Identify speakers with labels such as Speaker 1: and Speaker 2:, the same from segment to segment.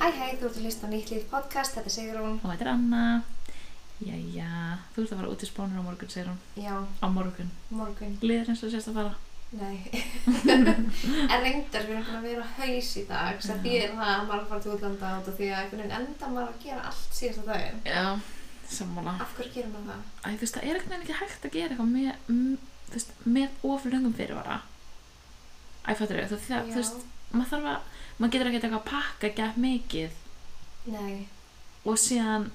Speaker 1: Hæ, hæ, þú ert að hlusta á nýtt líf podcast, þetta er Sigrún.
Speaker 2: Og þetta er Anna. Jæja, þú ert að fara út í spánur á morgun, segir hún.
Speaker 1: Já,
Speaker 2: Á morgun.
Speaker 1: morgun.
Speaker 2: Liður eins og sérst að fara.
Speaker 1: Nei. en reyndar, við erum búin að vera á haus í dag, sem því er það að maður er að fara til útlanda út af því að einhvern veginn enda maður að gera allt síðasta daginn.
Speaker 2: Já. Sammála.
Speaker 1: Af hverju gerum maður það?
Speaker 2: Æ, þú veist, það er ekkert neginn ekki hægt að gera eitthvað með, mm, þú veist, með oflöngum fyrirvara. Æ, fattur þau, þú
Speaker 1: Já.
Speaker 2: veist, maður þarf að, maður getur ekki eitthvað að pakka gett mikið
Speaker 1: Nei,
Speaker 2: og síðan,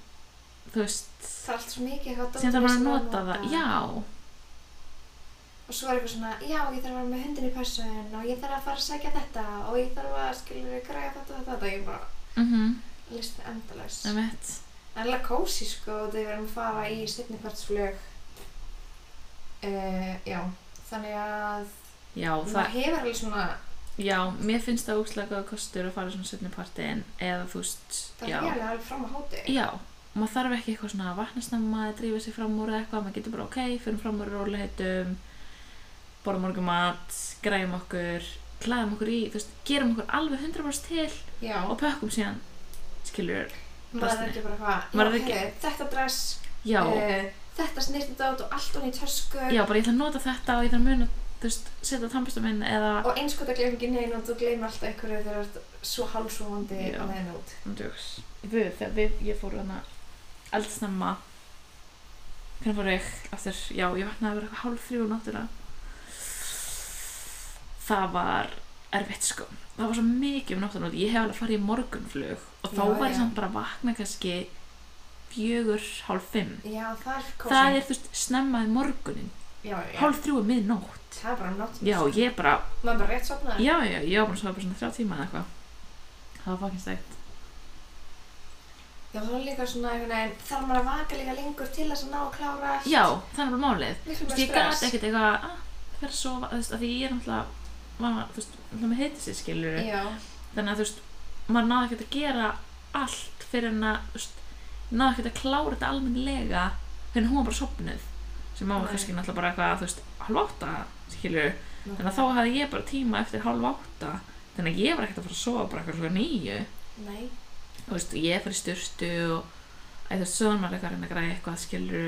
Speaker 2: þú veist,
Speaker 1: það er allt svo mikið eitthvað dót
Speaker 2: síðan þarf maður
Speaker 1: sem
Speaker 2: að
Speaker 1: maður
Speaker 2: nota það. Já,
Speaker 1: Og svo er eitthvað svona, já, ég þarf að vera með hundin í person og ég þarf að fara að segja þetta og ég þarf að, skilur, græja þetta og þetta. Ég er bara,
Speaker 2: mhm,
Speaker 1: listi endalaus.
Speaker 2: það er mitt.
Speaker 1: Ennlega kósi sko, þegar við erum að fara í setnipartsflög. Uh, já, þannig að
Speaker 2: Já, það,
Speaker 1: maður hefur alveg svona,
Speaker 2: já, mér finnst það óslega góða kostur að fara svona setni partin eða, þú veist,
Speaker 1: það
Speaker 2: já.
Speaker 1: er alveg alveg fram á hóti.
Speaker 2: Já, maður þarf ekki eitthvað svona að vakna snemma eða drífa sig fram úr eða eitthvað, maður getur bara ok, fyrir fram úr róleitum, borða morgumat, græjum okkur, klæðum okkur í, þú veist, gerum okkur alveg 100% til
Speaker 1: Já,
Speaker 2: og pökkum síðan, skilur,
Speaker 1: maður er
Speaker 2: drasli.
Speaker 1: ekki bara hvað, já,
Speaker 2: Maður er
Speaker 1: ekki...
Speaker 2: ekki-
Speaker 1: þetta dress,
Speaker 2: já,
Speaker 1: eh, þetta snirtidót og allt hún í tösku
Speaker 2: já, bara ég ætla að nota þetta og ég þarf að muna, þú veist, setja tannbustu minn eða,
Speaker 1: og einskota gleym ekki neina og þú gleymir alltaf einhverju þegar þú ert svo hálsóðandi
Speaker 2: Já.
Speaker 1: á þeim út.
Speaker 2: um djóks, við, þegar við, ég fór hana eldsnemma, hvernig fór ég aftur, já, ég vaknaði bara eitthvað hálf þrjú um náttúrulega, það var erfitt sko það var svo mikið um nóttan og ég hef alveg farið í morgunflug og þá
Speaker 1: Já,
Speaker 2: var ég
Speaker 1: já.
Speaker 2: samt bara að vakna kannski fjögur, hálf fimm
Speaker 1: Já, það er kósi.
Speaker 2: það er þú veist snemmaði morgunin
Speaker 1: já, já.
Speaker 2: hálf þrjú er miðnótt
Speaker 1: Það er bara nátt.
Speaker 2: já ég bara,
Speaker 1: Maður er bara rétt sopnaður.
Speaker 2: já já, ég var bara svo bara svona þrjá tíma eða eitthvað það var fucking steikt
Speaker 1: Já, það er líka svona einhvern veginn, þarf maður að vaka líka lengur til þess að ná að klára allt.
Speaker 2: já, það er bara málið
Speaker 1: Miklu meira
Speaker 2: Þú veist, ég
Speaker 1: stress.
Speaker 2: gæti ekkert eitthvað að fyrir að sofa þú veist, af því ég er náttúrulega var, þú veist, náttúrulega með heiti sér skilur
Speaker 1: Já,
Speaker 2: þannig að þú veist, maður náði ekkert að gera allt fyrir en að þú veist, náði ekkert að klára þetta almennilega fyrir en hún var bara sopnuð sem maður
Speaker 1: Nei.
Speaker 2: var kannski náttúrulega bara eitthvað þú veist, hálf átta, skilju þannig að þá hafði ég bara tíma eftir hálf átta þannig að ég var ekkert að fara að sofa bara eitthvað klukkan nýju
Speaker 1: Nei,
Speaker 2: þú veist, ég fyrir styrstu og eða þú veist, sögum maður eitthvað að reyna að græja eitthvað skilju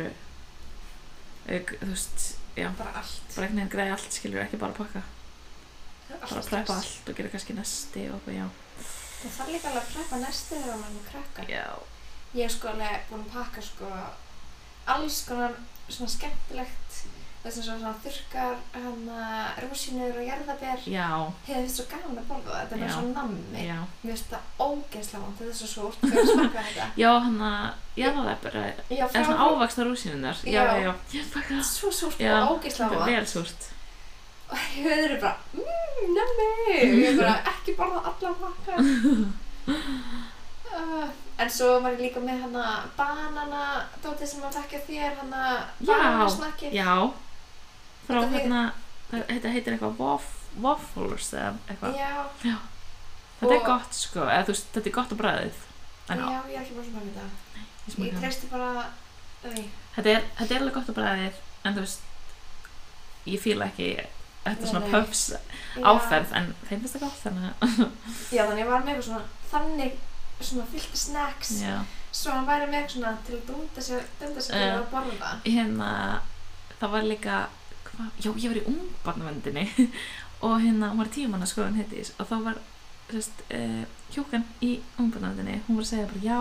Speaker 2: auk, þú veist, já
Speaker 1: bara allt.
Speaker 2: bara einhvern veginn græja allt skilju, ekki bara pakka bara
Speaker 1: Allt
Speaker 2: prepa
Speaker 1: stress.
Speaker 2: allt og gera kannski nesti og eitthvað, já
Speaker 1: Það þarf líka alveg að prepa næstu þegar maður er með krakka.
Speaker 2: já,
Speaker 1: Ég hef sko alveg búin að pakka sko alls konar svona skemmtilegt, þess að svona þurkar, hana, rúsinur og jarðabér.
Speaker 2: já,
Speaker 1: Hefði finnst svo gaman að borða það, þetta er bara
Speaker 2: Já.
Speaker 1: svo nammi.
Speaker 2: já.
Speaker 1: Mér finnst það ógeðslega vant, þetta er svo súrt, þegar ég smakka þetta.
Speaker 2: Já, hann að ég var það bara
Speaker 1: Já,
Speaker 2: En svona
Speaker 1: frá,
Speaker 2: ávaxta rúsinunar Já,
Speaker 1: Já.
Speaker 2: já, já Ég fækka það
Speaker 1: svo súrt
Speaker 2: Já,
Speaker 1: og
Speaker 2: Það
Speaker 1: ógeðslega
Speaker 2: er
Speaker 1: vant.
Speaker 2: vel súrt
Speaker 1: og þau eru bara mmm, nemmi ég bara ekki borða allan makka uh, en svo var ég líka með hana banana dótið sem að þekka þér hana bananasnakki
Speaker 2: Já Frá
Speaker 1: Þetta við-
Speaker 2: hérna það- Þetta heitir eitthvað waff, waffles eða eitthvað
Speaker 1: já,
Speaker 2: Þetta
Speaker 1: og-
Speaker 2: er gott sko eða, þú veist, Þetta er gott á bræðið En á,
Speaker 1: já, ég er ekki bara svona með þetta
Speaker 2: ég smakka
Speaker 1: ég
Speaker 2: það.
Speaker 1: treysti bara Nei,
Speaker 2: þetta er, þetta er alveg gott á bræðið En þú veist Ég fíla ekki Þetta
Speaker 1: Nei,
Speaker 2: er svona
Speaker 1: nei.
Speaker 2: puffs
Speaker 1: já.
Speaker 2: áferð En þeim finnst það gott þannig að-
Speaker 1: Já, þannig ég var með eitthvað svona þannig svona fyllt af snacks
Speaker 2: Já
Speaker 1: svo hann væri með eitthvað svona til að dunda sér dunda sér til
Speaker 2: Já.
Speaker 1: að borða
Speaker 2: hérna það var líka hva? já ég var í ungbarnavendinni og hérna hún var tímanna skoðan hittis og þá var sest, uh, hjókan í ungbarnavendinni hún var að segja bara já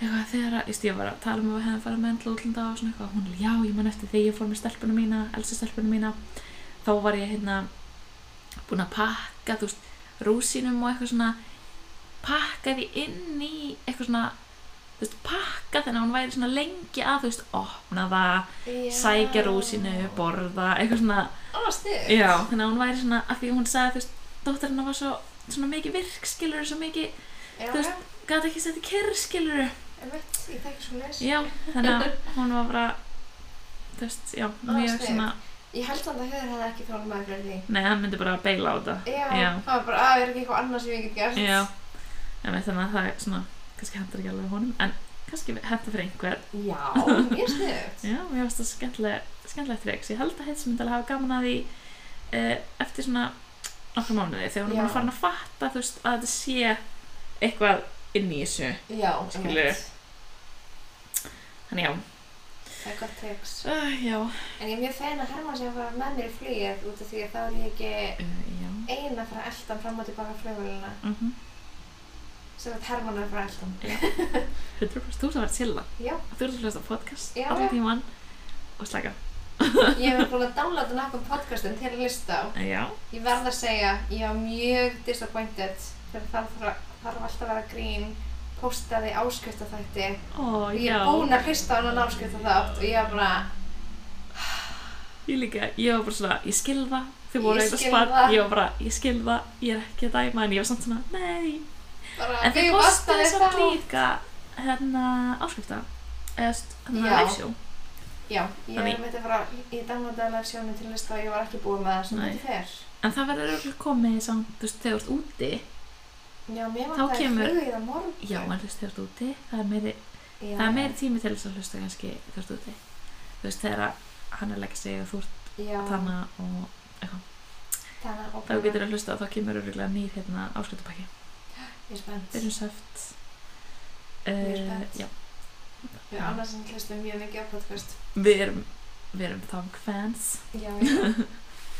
Speaker 2: eitthvað þegar að, ég veist, ég var að tala um að við hefðum farið með enn til útlanda og svona eitthvað hún er já ég man eftir þegar ég fór með stelpunum mína elsa stelpunum mína þá var ég hérna búin að pakka þú veist rúsinum og eitthvað svona pakka því inn í eitthvað svona þú veist pakka þannig að hún væri svona lengi að þú veist opna það
Speaker 1: Já.
Speaker 2: sækja rúsinu, borða, eitthvað svona
Speaker 1: Á, stuð
Speaker 2: já. þannig að hún væri svona, af því hún sagði þú veist, dóttarinn var svo svona mikið virk skilur, svo mikið,
Speaker 1: Já,
Speaker 2: þú veist- gæti ekki setið kyrr skilur
Speaker 1: ég veit, ég þekki svo leys
Speaker 2: já, þannig að hún var bara þú veist, já, mjög
Speaker 1: sniðugt.
Speaker 2: svona
Speaker 1: Ég held samt að Hauður hefði ekki þólað maður fyrir því.
Speaker 2: nei, hann myndi bara beila á þetta
Speaker 1: Já,
Speaker 2: Já.
Speaker 1: það var bara, að það er ekki eitthvað annað sem ég get gert.
Speaker 2: já, en við þannig að það er svona kannski hendur ekki alveg honum, en kannski hendur fyrir einhver,
Speaker 1: Já, mjög sniðugt.
Speaker 2: já, mér finnst það skemmtilegt skemmtilegt triks, ég held að heits myndi alveg hafa gaman að því uh, eftir svona nokkra mánuði, þegar hún
Speaker 1: Já.
Speaker 2: er búin að fara að fatta þú veist, að þetta sé eitthvað inn í þessu
Speaker 1: já,
Speaker 2: Skilurðu?
Speaker 1: einmitt.
Speaker 2: þannig já,
Speaker 1: það er gott tegs
Speaker 2: uh, já.
Speaker 1: en ég er mjög fegin að Hermann sé að fara með mér í flugið út af því að þá er ég ekki
Speaker 2: Uh, já.
Speaker 1: ein að fara að elda hann fram og tilbaka flugvélina
Speaker 2: Mm
Speaker 1: sem að Hermann er að fara að elda hann.
Speaker 2: 100% þú sem var að chilla
Speaker 1: já,
Speaker 2: þú ert að hlusta á podcast
Speaker 1: Já,
Speaker 2: allan
Speaker 1: já.
Speaker 2: tíman og slaka
Speaker 1: ég hef búin að downloada nokkuð podcastin til að lista á
Speaker 2: Eh, já,
Speaker 1: Ég verð að segja, ég var mjög disappointed fyrir það þarf, þarf alltaf að vera grín postaði áskriftafætti
Speaker 2: ó
Speaker 1: og ég
Speaker 2: já
Speaker 1: er búin að hlusta á hann áskriftafætt og ég var bara
Speaker 2: ég líka, ég var bara svona, ég skil það þau
Speaker 1: Ég
Speaker 2: voru eitthvað
Speaker 1: skil
Speaker 2: spart,
Speaker 1: það.
Speaker 2: ég var bara ég skil það, ég er ekki að dæma en ég var samt svona, nei
Speaker 1: bara,
Speaker 2: en þau
Speaker 1: við
Speaker 2: postaði
Speaker 1: vantaði
Speaker 2: samt líka hérna áskrifta eða st- hérna
Speaker 1: Já.
Speaker 2: live show
Speaker 1: Já, ég
Speaker 2: Þannig-
Speaker 1: er veit að fara í downloadaðlega sjónu til lista og ég var ekki búin með það sem
Speaker 2: Nei.
Speaker 1: þetta fer
Speaker 2: en það verður örugglega komið samt, þú veist, þegar þú ert úti
Speaker 1: Já, mér
Speaker 2: Þá
Speaker 1: vantaði
Speaker 2: kemur-
Speaker 1: flugið á morgun
Speaker 2: já, en þú veist, þegar þú ert úti það er meiri,
Speaker 1: Já,
Speaker 2: það er meiri tími til þess að hlusta kannski þegar þú ert úti þú veist, þegar að hann er að leggja sig og þú ert
Speaker 1: já,
Speaker 2: þarna og
Speaker 1: þannig og
Speaker 2: þegar þú getur að hlusta þá kemur örugglega nýr hérna áskriftabæki
Speaker 1: Ég er spennt
Speaker 2: byrjum söft
Speaker 1: Mjög
Speaker 2: uh,
Speaker 1: spennt.
Speaker 2: já,
Speaker 1: Við annars sem hlustum mjög mikið á podcast
Speaker 2: við erum við erum þang fans
Speaker 1: Já, já,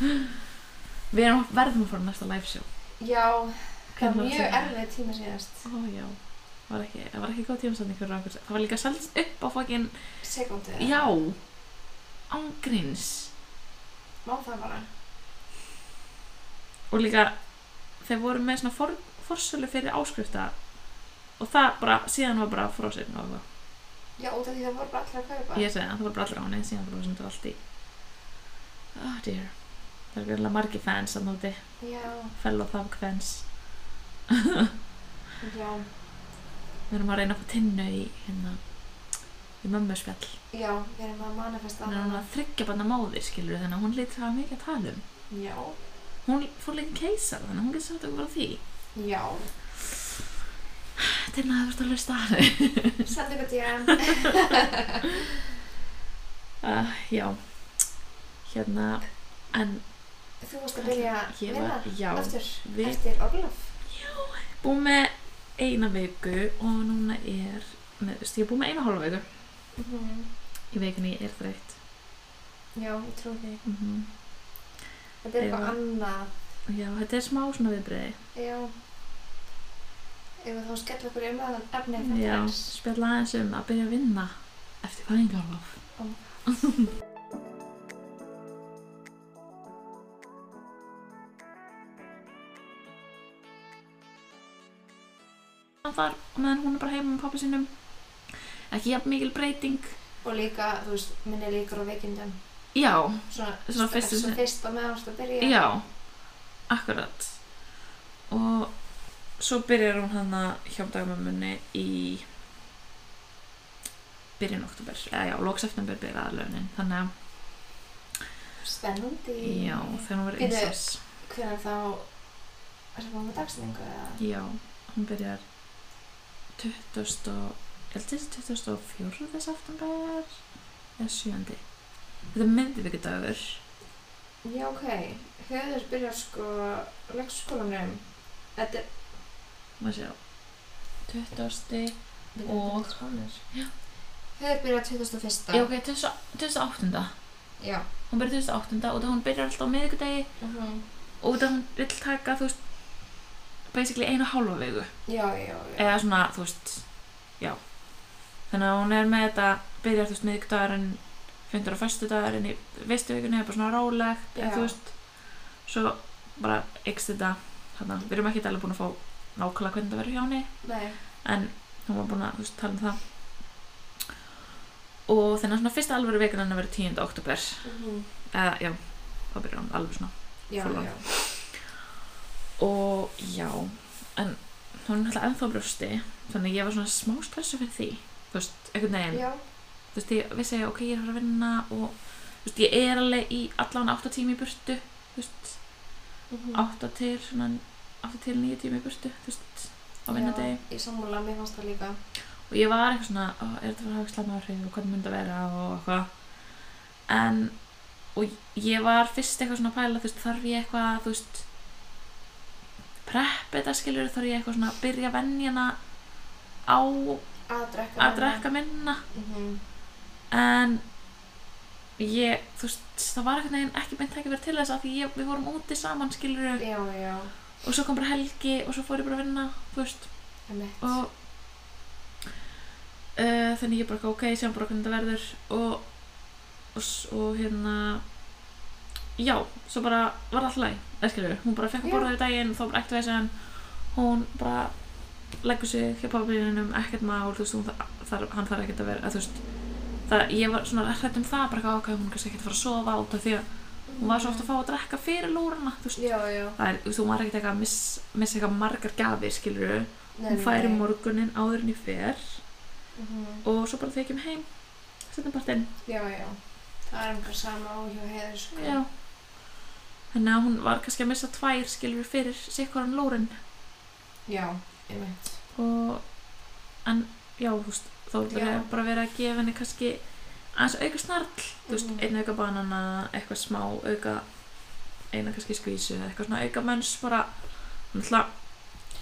Speaker 2: við erum, verðum að fara á næsta live show
Speaker 1: já það
Speaker 2: Hvenær
Speaker 1: er
Speaker 2: var
Speaker 1: mjög
Speaker 2: það?
Speaker 1: erfið tíma síðast
Speaker 2: Ó, já, var ekki, það var ekki góð tímasetning fyrir okkur. Það var líka seldist upp á fokkin,
Speaker 1: Sekundu
Speaker 2: já, ángríns.
Speaker 1: Má það bara
Speaker 2: Og líka, þeir voru með svona for, forsölu fyrir áskrifta og það bara, síðan var bara frosinn og eitthvað.
Speaker 1: Já, út af því það voru bara allir að kaupa.
Speaker 2: Ég segi það, það voru bara allir á henni, síðan frosinn og allt í. Oh dear. Það eru verðilega margi fans að nóti,
Speaker 1: Já,
Speaker 2: fellow thug fans.
Speaker 1: já,
Speaker 2: Við erum að reyna að fá tinnu í, hérna, í mömmu spjall.
Speaker 1: já, við erum að manifesta
Speaker 2: Hún er hún að þryggja banna móðir, skilur þannig að hún lítur að hafa mikið að tala um.
Speaker 1: Já,
Speaker 2: hún fór líka keisar þannig að hún getur sagt okkur á því
Speaker 1: já,
Speaker 2: til að þú ert að hlusta að henni
Speaker 1: sendu ykkur DM.
Speaker 2: uh, já hérna en
Speaker 1: Þú varst að byrja að
Speaker 2: ég
Speaker 1: vinna
Speaker 2: var, já,
Speaker 1: aftur
Speaker 2: við-
Speaker 1: eftir orlof.
Speaker 2: búið með eina viku og núna er með, þú veist, ég er búið með eina hálfa viku Mhm. í vikunni er þreytt
Speaker 1: Já, ég trú því.
Speaker 2: mm
Speaker 1: Þetta er
Speaker 2: Já.
Speaker 1: eitthvað annað.
Speaker 2: já, þetta er smá svona viðbreiði
Speaker 1: Já. Ef við þá skella okkur um aðan efnið
Speaker 2: já,
Speaker 1: þetta eins.
Speaker 2: spjalla aðeins um að byrja að vinna eftir fæðingarlof hann þar og meðan hún er bara heima með pappa sínum ekki jafn mikil breyting
Speaker 1: Og líka, þú veist, minni líkur á veikindum.
Speaker 2: já,
Speaker 1: Svona,
Speaker 2: Svona fyrstu
Speaker 1: svona
Speaker 2: sinni.
Speaker 1: fyrst og meðan þú varst að byrja.
Speaker 2: Já, akkurat og svo byrjar hún hann að hjá dagmammunni í byrjun oktober eða já, lók september byrjar aðlaunin þannig að,
Speaker 1: Spennandi.
Speaker 2: já, þegar hún verið
Speaker 1: Byrju.
Speaker 2: einsás
Speaker 1: Hvernig þá, er það búin með dagsetningu eða?
Speaker 2: já, hún byrjar 20 og ég held þessi 24. september eða 7. þetta er miðvíkudagur
Speaker 1: Já, ok. Höður byrjar sko á leikskólanum. Þetta er...
Speaker 2: maður sjá 20. Og-
Speaker 1: Skólanir. Já. Höður byrjar 2001.
Speaker 2: já, ok, 20 28.
Speaker 1: Já.
Speaker 2: hún byrjar 2008 og það hún byrjar alltaf á miðvikudegi
Speaker 1: Uh -huh.
Speaker 2: Mhm. og það hún vill taka þú veist basically einu hálfa viku
Speaker 1: Já, já, já.
Speaker 2: eða svona þú veist já þannig að hún er með þetta byrjar þú veist miðvikudagurinn fundur á föstudagurinn í vestuvikunni er bara svona rólegt eða
Speaker 1: Já.
Speaker 2: þú veist svo bara ykst þetta þannig að við erum ekki alveg búin að fá nákvæmlega hvernig það verður hjá henni
Speaker 1: Nei.
Speaker 2: en hún var búin að þú veist, tala um það og þannig að svona fyrsta alvöru vikan henni verður 10. oktober
Speaker 1: Uh -huh.
Speaker 2: eða já, þá byrjar hún alveg svona
Speaker 1: Já,
Speaker 2: Full on.
Speaker 1: já.
Speaker 2: og já en hún er alltaf ennþá á brjósti þannig að ég var svona smá stressu fyrir því þú veist, einhvern veginn
Speaker 1: Já.
Speaker 2: þú veist, ég vissi að ok, ég er að fara að vinna og þú veist, ég er alveg í allan 8 tími í burtu þú veist,
Speaker 1: Uh
Speaker 2: 8 til svona 8 til 9 tími í burtu þú veist, á vinnadegi
Speaker 1: Í sammúla, mér fannst það líka.
Speaker 2: og ég var eitthvað svona, "Ó, er þetta fyrir hagslæma áhrif og hvernig myndi að vera og eitthvað en, og ég var fyrst eitthvað svona að pæla, þú veist, þarf ég eitthvað þú veist, bara prep þetta skilur þá er ég eitthvað svona að byrja að venja hana á
Speaker 1: að drekka
Speaker 2: að drekka minna
Speaker 1: mm
Speaker 2: en ég, þú veist, það var eitthvað neginn ekki beint ekki verið til þess að því ég, við vorum úti saman skilur
Speaker 1: já, já,
Speaker 2: og svo kom bara helgi og svo fór ég bara að vinna þú veist,
Speaker 1: emitt
Speaker 2: og uh, þannig ég bara eitthvað, ok, sem bara hvernig þetta verður og, og, s- og hérna já, svo bara var allt læg eskilur, hún bara fekk að
Speaker 1: Já.
Speaker 2: borða í daginn þá bara ekkert veist en hún bara leggur sig hjá pappinum ekkert mál, þú veist, hún, þa- þarf, hann þarf ekkert að vera, að, þú veist það, ég var svona hrætt um það, bara eitthvað, ok, hún er kannski ekkert að fara að sofa út af því að hún var svo ofta að fá að drekka fyrir lúrana, þú veist
Speaker 1: Mhm. já, já,
Speaker 2: það er, þú veist, hún var ekkert eitthvað að miss- missa eitthvað margar gafir, skilur
Speaker 1: nei,
Speaker 2: hún færi
Speaker 1: nei.
Speaker 2: morgunin áður en ég fer
Speaker 1: Mhm.
Speaker 2: og svo bara þykjum heim setjum partinn
Speaker 1: já, já það er einhver sama áhjá heiður sko
Speaker 2: Já. þannig að hún var kannski að missa tvær skilur fyrir sikkoran lórin
Speaker 1: já, emitt
Speaker 2: og en já, þú veist, þá er
Speaker 1: Já.
Speaker 2: bara, bara verið að gefa henni kannski aðeins auka snarl þú veist,
Speaker 1: Mhm.
Speaker 2: einn auka banana, eitthvað smá auka, eina kannski skvísu eða eitthvað svona auka mönns bara náttúrulega,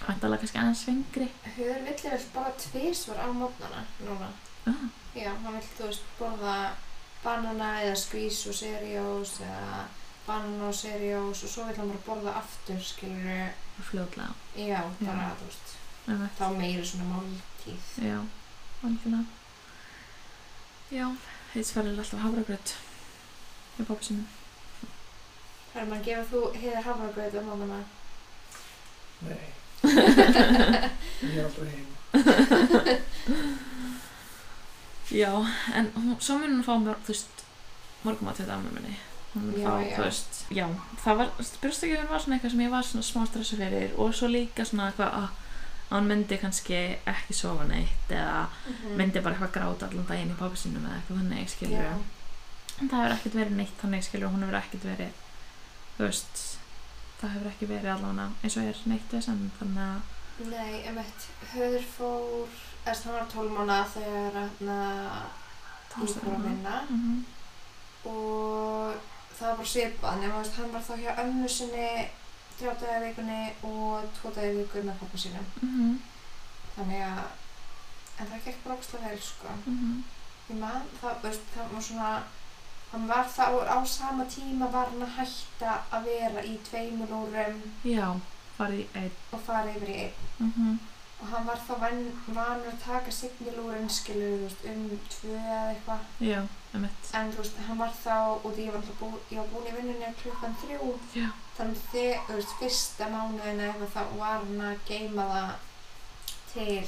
Speaker 2: hættalega kannski aðeins svengri
Speaker 1: Hör villi vel bara tvísvar á mótnana núna.
Speaker 2: ah,
Speaker 1: Já, hann vill, þú veist, borða banana eða skvís og serjós eða banana og serjós og svo vill hann bara borða aftur, skilur
Speaker 2: fljótlega,
Speaker 1: já, bara,
Speaker 2: Já.
Speaker 1: þú veist,
Speaker 2: nefnir
Speaker 1: þá meiri svona máltíð.
Speaker 2: Já, algjörlega. Já, heitsverðin er alltaf hafragröð hjá pappa sinni.
Speaker 1: Herman, gefur þú heiðar hafragröð á mótnana?
Speaker 3: Nei. ég er aldrei heima.
Speaker 2: Já, en hún, svo mun hún fá mér, þú veist, morgumat þetta með minni. Hún mun
Speaker 1: Já,
Speaker 2: fá,
Speaker 1: já.
Speaker 2: þú veist, já, það var, brjóstakjöfin var svona eitthvað sem ég var svona smá stressa fyrir og svo líka svona eitthvað að að hann myndi kannski ekki sofa neitt eða
Speaker 1: Mm -hmm.
Speaker 2: myndi bara eitthvað gráta allan daginn í pappa sinum eða eitthvað þannig, skilur
Speaker 1: Já,
Speaker 2: En það hefur ekkert verið neitt þannig, skilur, hún hefur ekkert verið, þú veist, það hefur ekki verið allavega eins og er neitt vesen, þannig að,
Speaker 1: nei, emitt, höður fór, eða hann var 12 mánuða þegar hann að fór að
Speaker 2: Tónlistarmaður.
Speaker 1: vinna.
Speaker 2: Mhm.
Speaker 1: og það var bara svipað nema þú veist, hann var þá hjá ömmu sinni þrjá daga í vikunni og tvo daga í viku með pappa sínum
Speaker 2: Mhm.
Speaker 1: þannig að en það gekk bara ógstlega vel sko
Speaker 2: Mhm.
Speaker 1: ég man það, þú veist, það var svona hann var þá á sama tíma var hann að hætta að vera í tveimur úrum
Speaker 2: já, farið í einn,
Speaker 1: og fara yfir í einn
Speaker 2: Mhm.
Speaker 1: og hann var þá van, vanur að taka signilúrin skilur þú veist, um tvö eða eitthvað
Speaker 2: já, emitt,
Speaker 1: en þú veist, hann var þá og því ég var, náttúrulega bú, ég var búin í vinnunni klukkan þrjú
Speaker 2: já,
Speaker 1: þannig að þið, þú veist, fyrsta mánuðina eða það var hann að geyma það til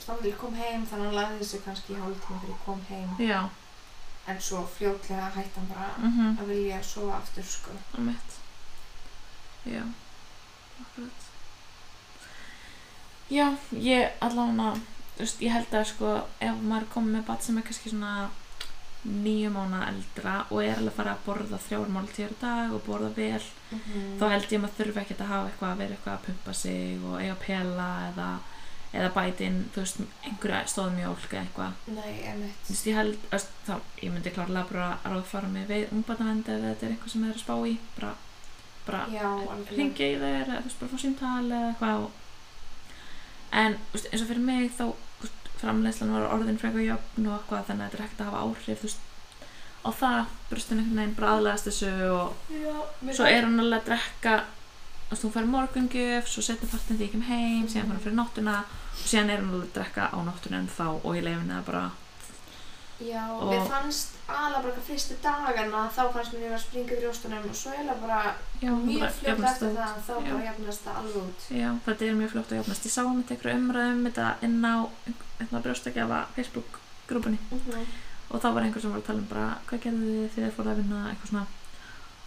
Speaker 1: stóðil kom heim, þannig að hann lagði þessu kannski í hálftíma þegar ég kom heim
Speaker 2: já,
Speaker 1: en svo fljótlega hætti hann bara
Speaker 2: mhm,
Speaker 1: að vilja sofa aftur, sko
Speaker 2: emitt, já, akkurat. Já, ég allavega, þú veist, ég held að sko, ef maður er komið með bat sem er kannski svona níu mánuða eldra og er alveg að fara að borða þrjár máltíður dag og borða vel
Speaker 1: Mm.
Speaker 2: þá held ég að maður þurfi ekkert að hafa eitthvað að vera eitthvað að pumpa sig og eiga pela eða, eða bæti inn, þú veist, einhverja stóðmjólk eða eitthvað.
Speaker 1: Nei,
Speaker 2: Þú
Speaker 1: emitt
Speaker 2: veist, ég held, öst, þá, ég myndi klárlega bara að ráðfara mig við ungbarnavend ef þetta er eitthvað sem það er að spá í, bara, bara
Speaker 1: Já, alveg
Speaker 2: hringja í þeir eða þú veist, bara fá símtal eða eitthvað og... en þú veist, eins og fyrir mig þá þú veist, framleiðslan var orðin frekar jöfn og eitthvað þannig að þetta er ekkert að hafa áhrif þú veist, á það, brustin einhvern veginn bara aðlæðast þessu og
Speaker 1: Já, mér
Speaker 2: svo er hún alveg að drekka þú veist, hún fær morgungjöf, svo setjum partin því ég kem heim, síðan fær hún fyrir nóttuna og síðan er hún alveg að drekka á nóttuna en þá og ég leifin það bara
Speaker 1: Já,
Speaker 2: og-
Speaker 1: mér fannst alveg bara eitthvað fyrstu dagana þá fannst mér ég var að springa í brjóstunum og svo er það bara
Speaker 2: já, hún bara
Speaker 1: mjög fljótt
Speaker 2: jafnast
Speaker 1: eftir það
Speaker 2: út.
Speaker 1: þá
Speaker 2: Já.
Speaker 1: bara jafnast það alveg út
Speaker 2: já, þetta er mjög fljótt að jafnast ég sá mitt einhverju umræðum þetta inn á hérna brjóstakjafa Facebook grúpunni
Speaker 1: Mhm.
Speaker 2: og þá var einhver sem var að tala um bara hvað gerðu þið þegar þið fóruð að vinna eitthvað svona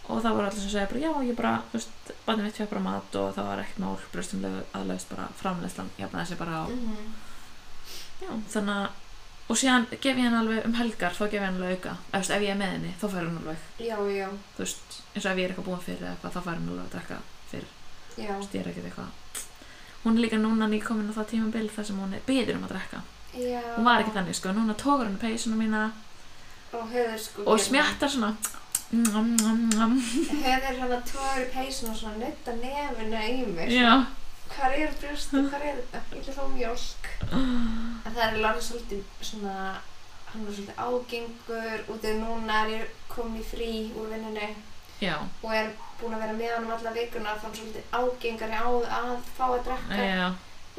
Speaker 2: og þá var allir sem segja bara já, ég bara, þú veist, bandið mitt fyrir bara mat og það var ekkert mál, brjóstum aðlaust bara framleyslan, jafnaði sig bara á
Speaker 1: Mhm.
Speaker 2: Já, þannig að og síðan gef ég henni alveg um helgar þá gef ég henni alveg auka, eða þú veist, ef ég er með henni þá fær hún alveg,
Speaker 1: Já, já,
Speaker 2: þú veist eins og ef ég er eitthvað búin fyrir eða eitthvað, þá fær hún alveg að drekka fyrir,
Speaker 1: já
Speaker 2: þú veist, ég er ekkert eitthvað hún er líka núna nýkomin á það tímabil þar sem hún er byður um að drekka
Speaker 1: Já
Speaker 2: hún var ekki þannig, sko, núna tókur hún peysuna mína
Speaker 1: og höfður sko
Speaker 2: og
Speaker 1: gerði.
Speaker 2: smjattar svona nom, nom, nom.
Speaker 1: Höður hann að tóður í peysun hérna og svona nutta nefuna í mér.
Speaker 2: Já,
Speaker 1: Hvar er brjóstu, hvar er þetta? Ég ætla að fá mjólk. En það er alveg orðið svolítið svona, hann var svolítið ágengur út af núna er ég komin í frí úr vinnunni
Speaker 2: já,
Speaker 1: og er búin að vera með honum alla vikuna þá er hann svolítið ágengari á að fá að drekka
Speaker 2: já,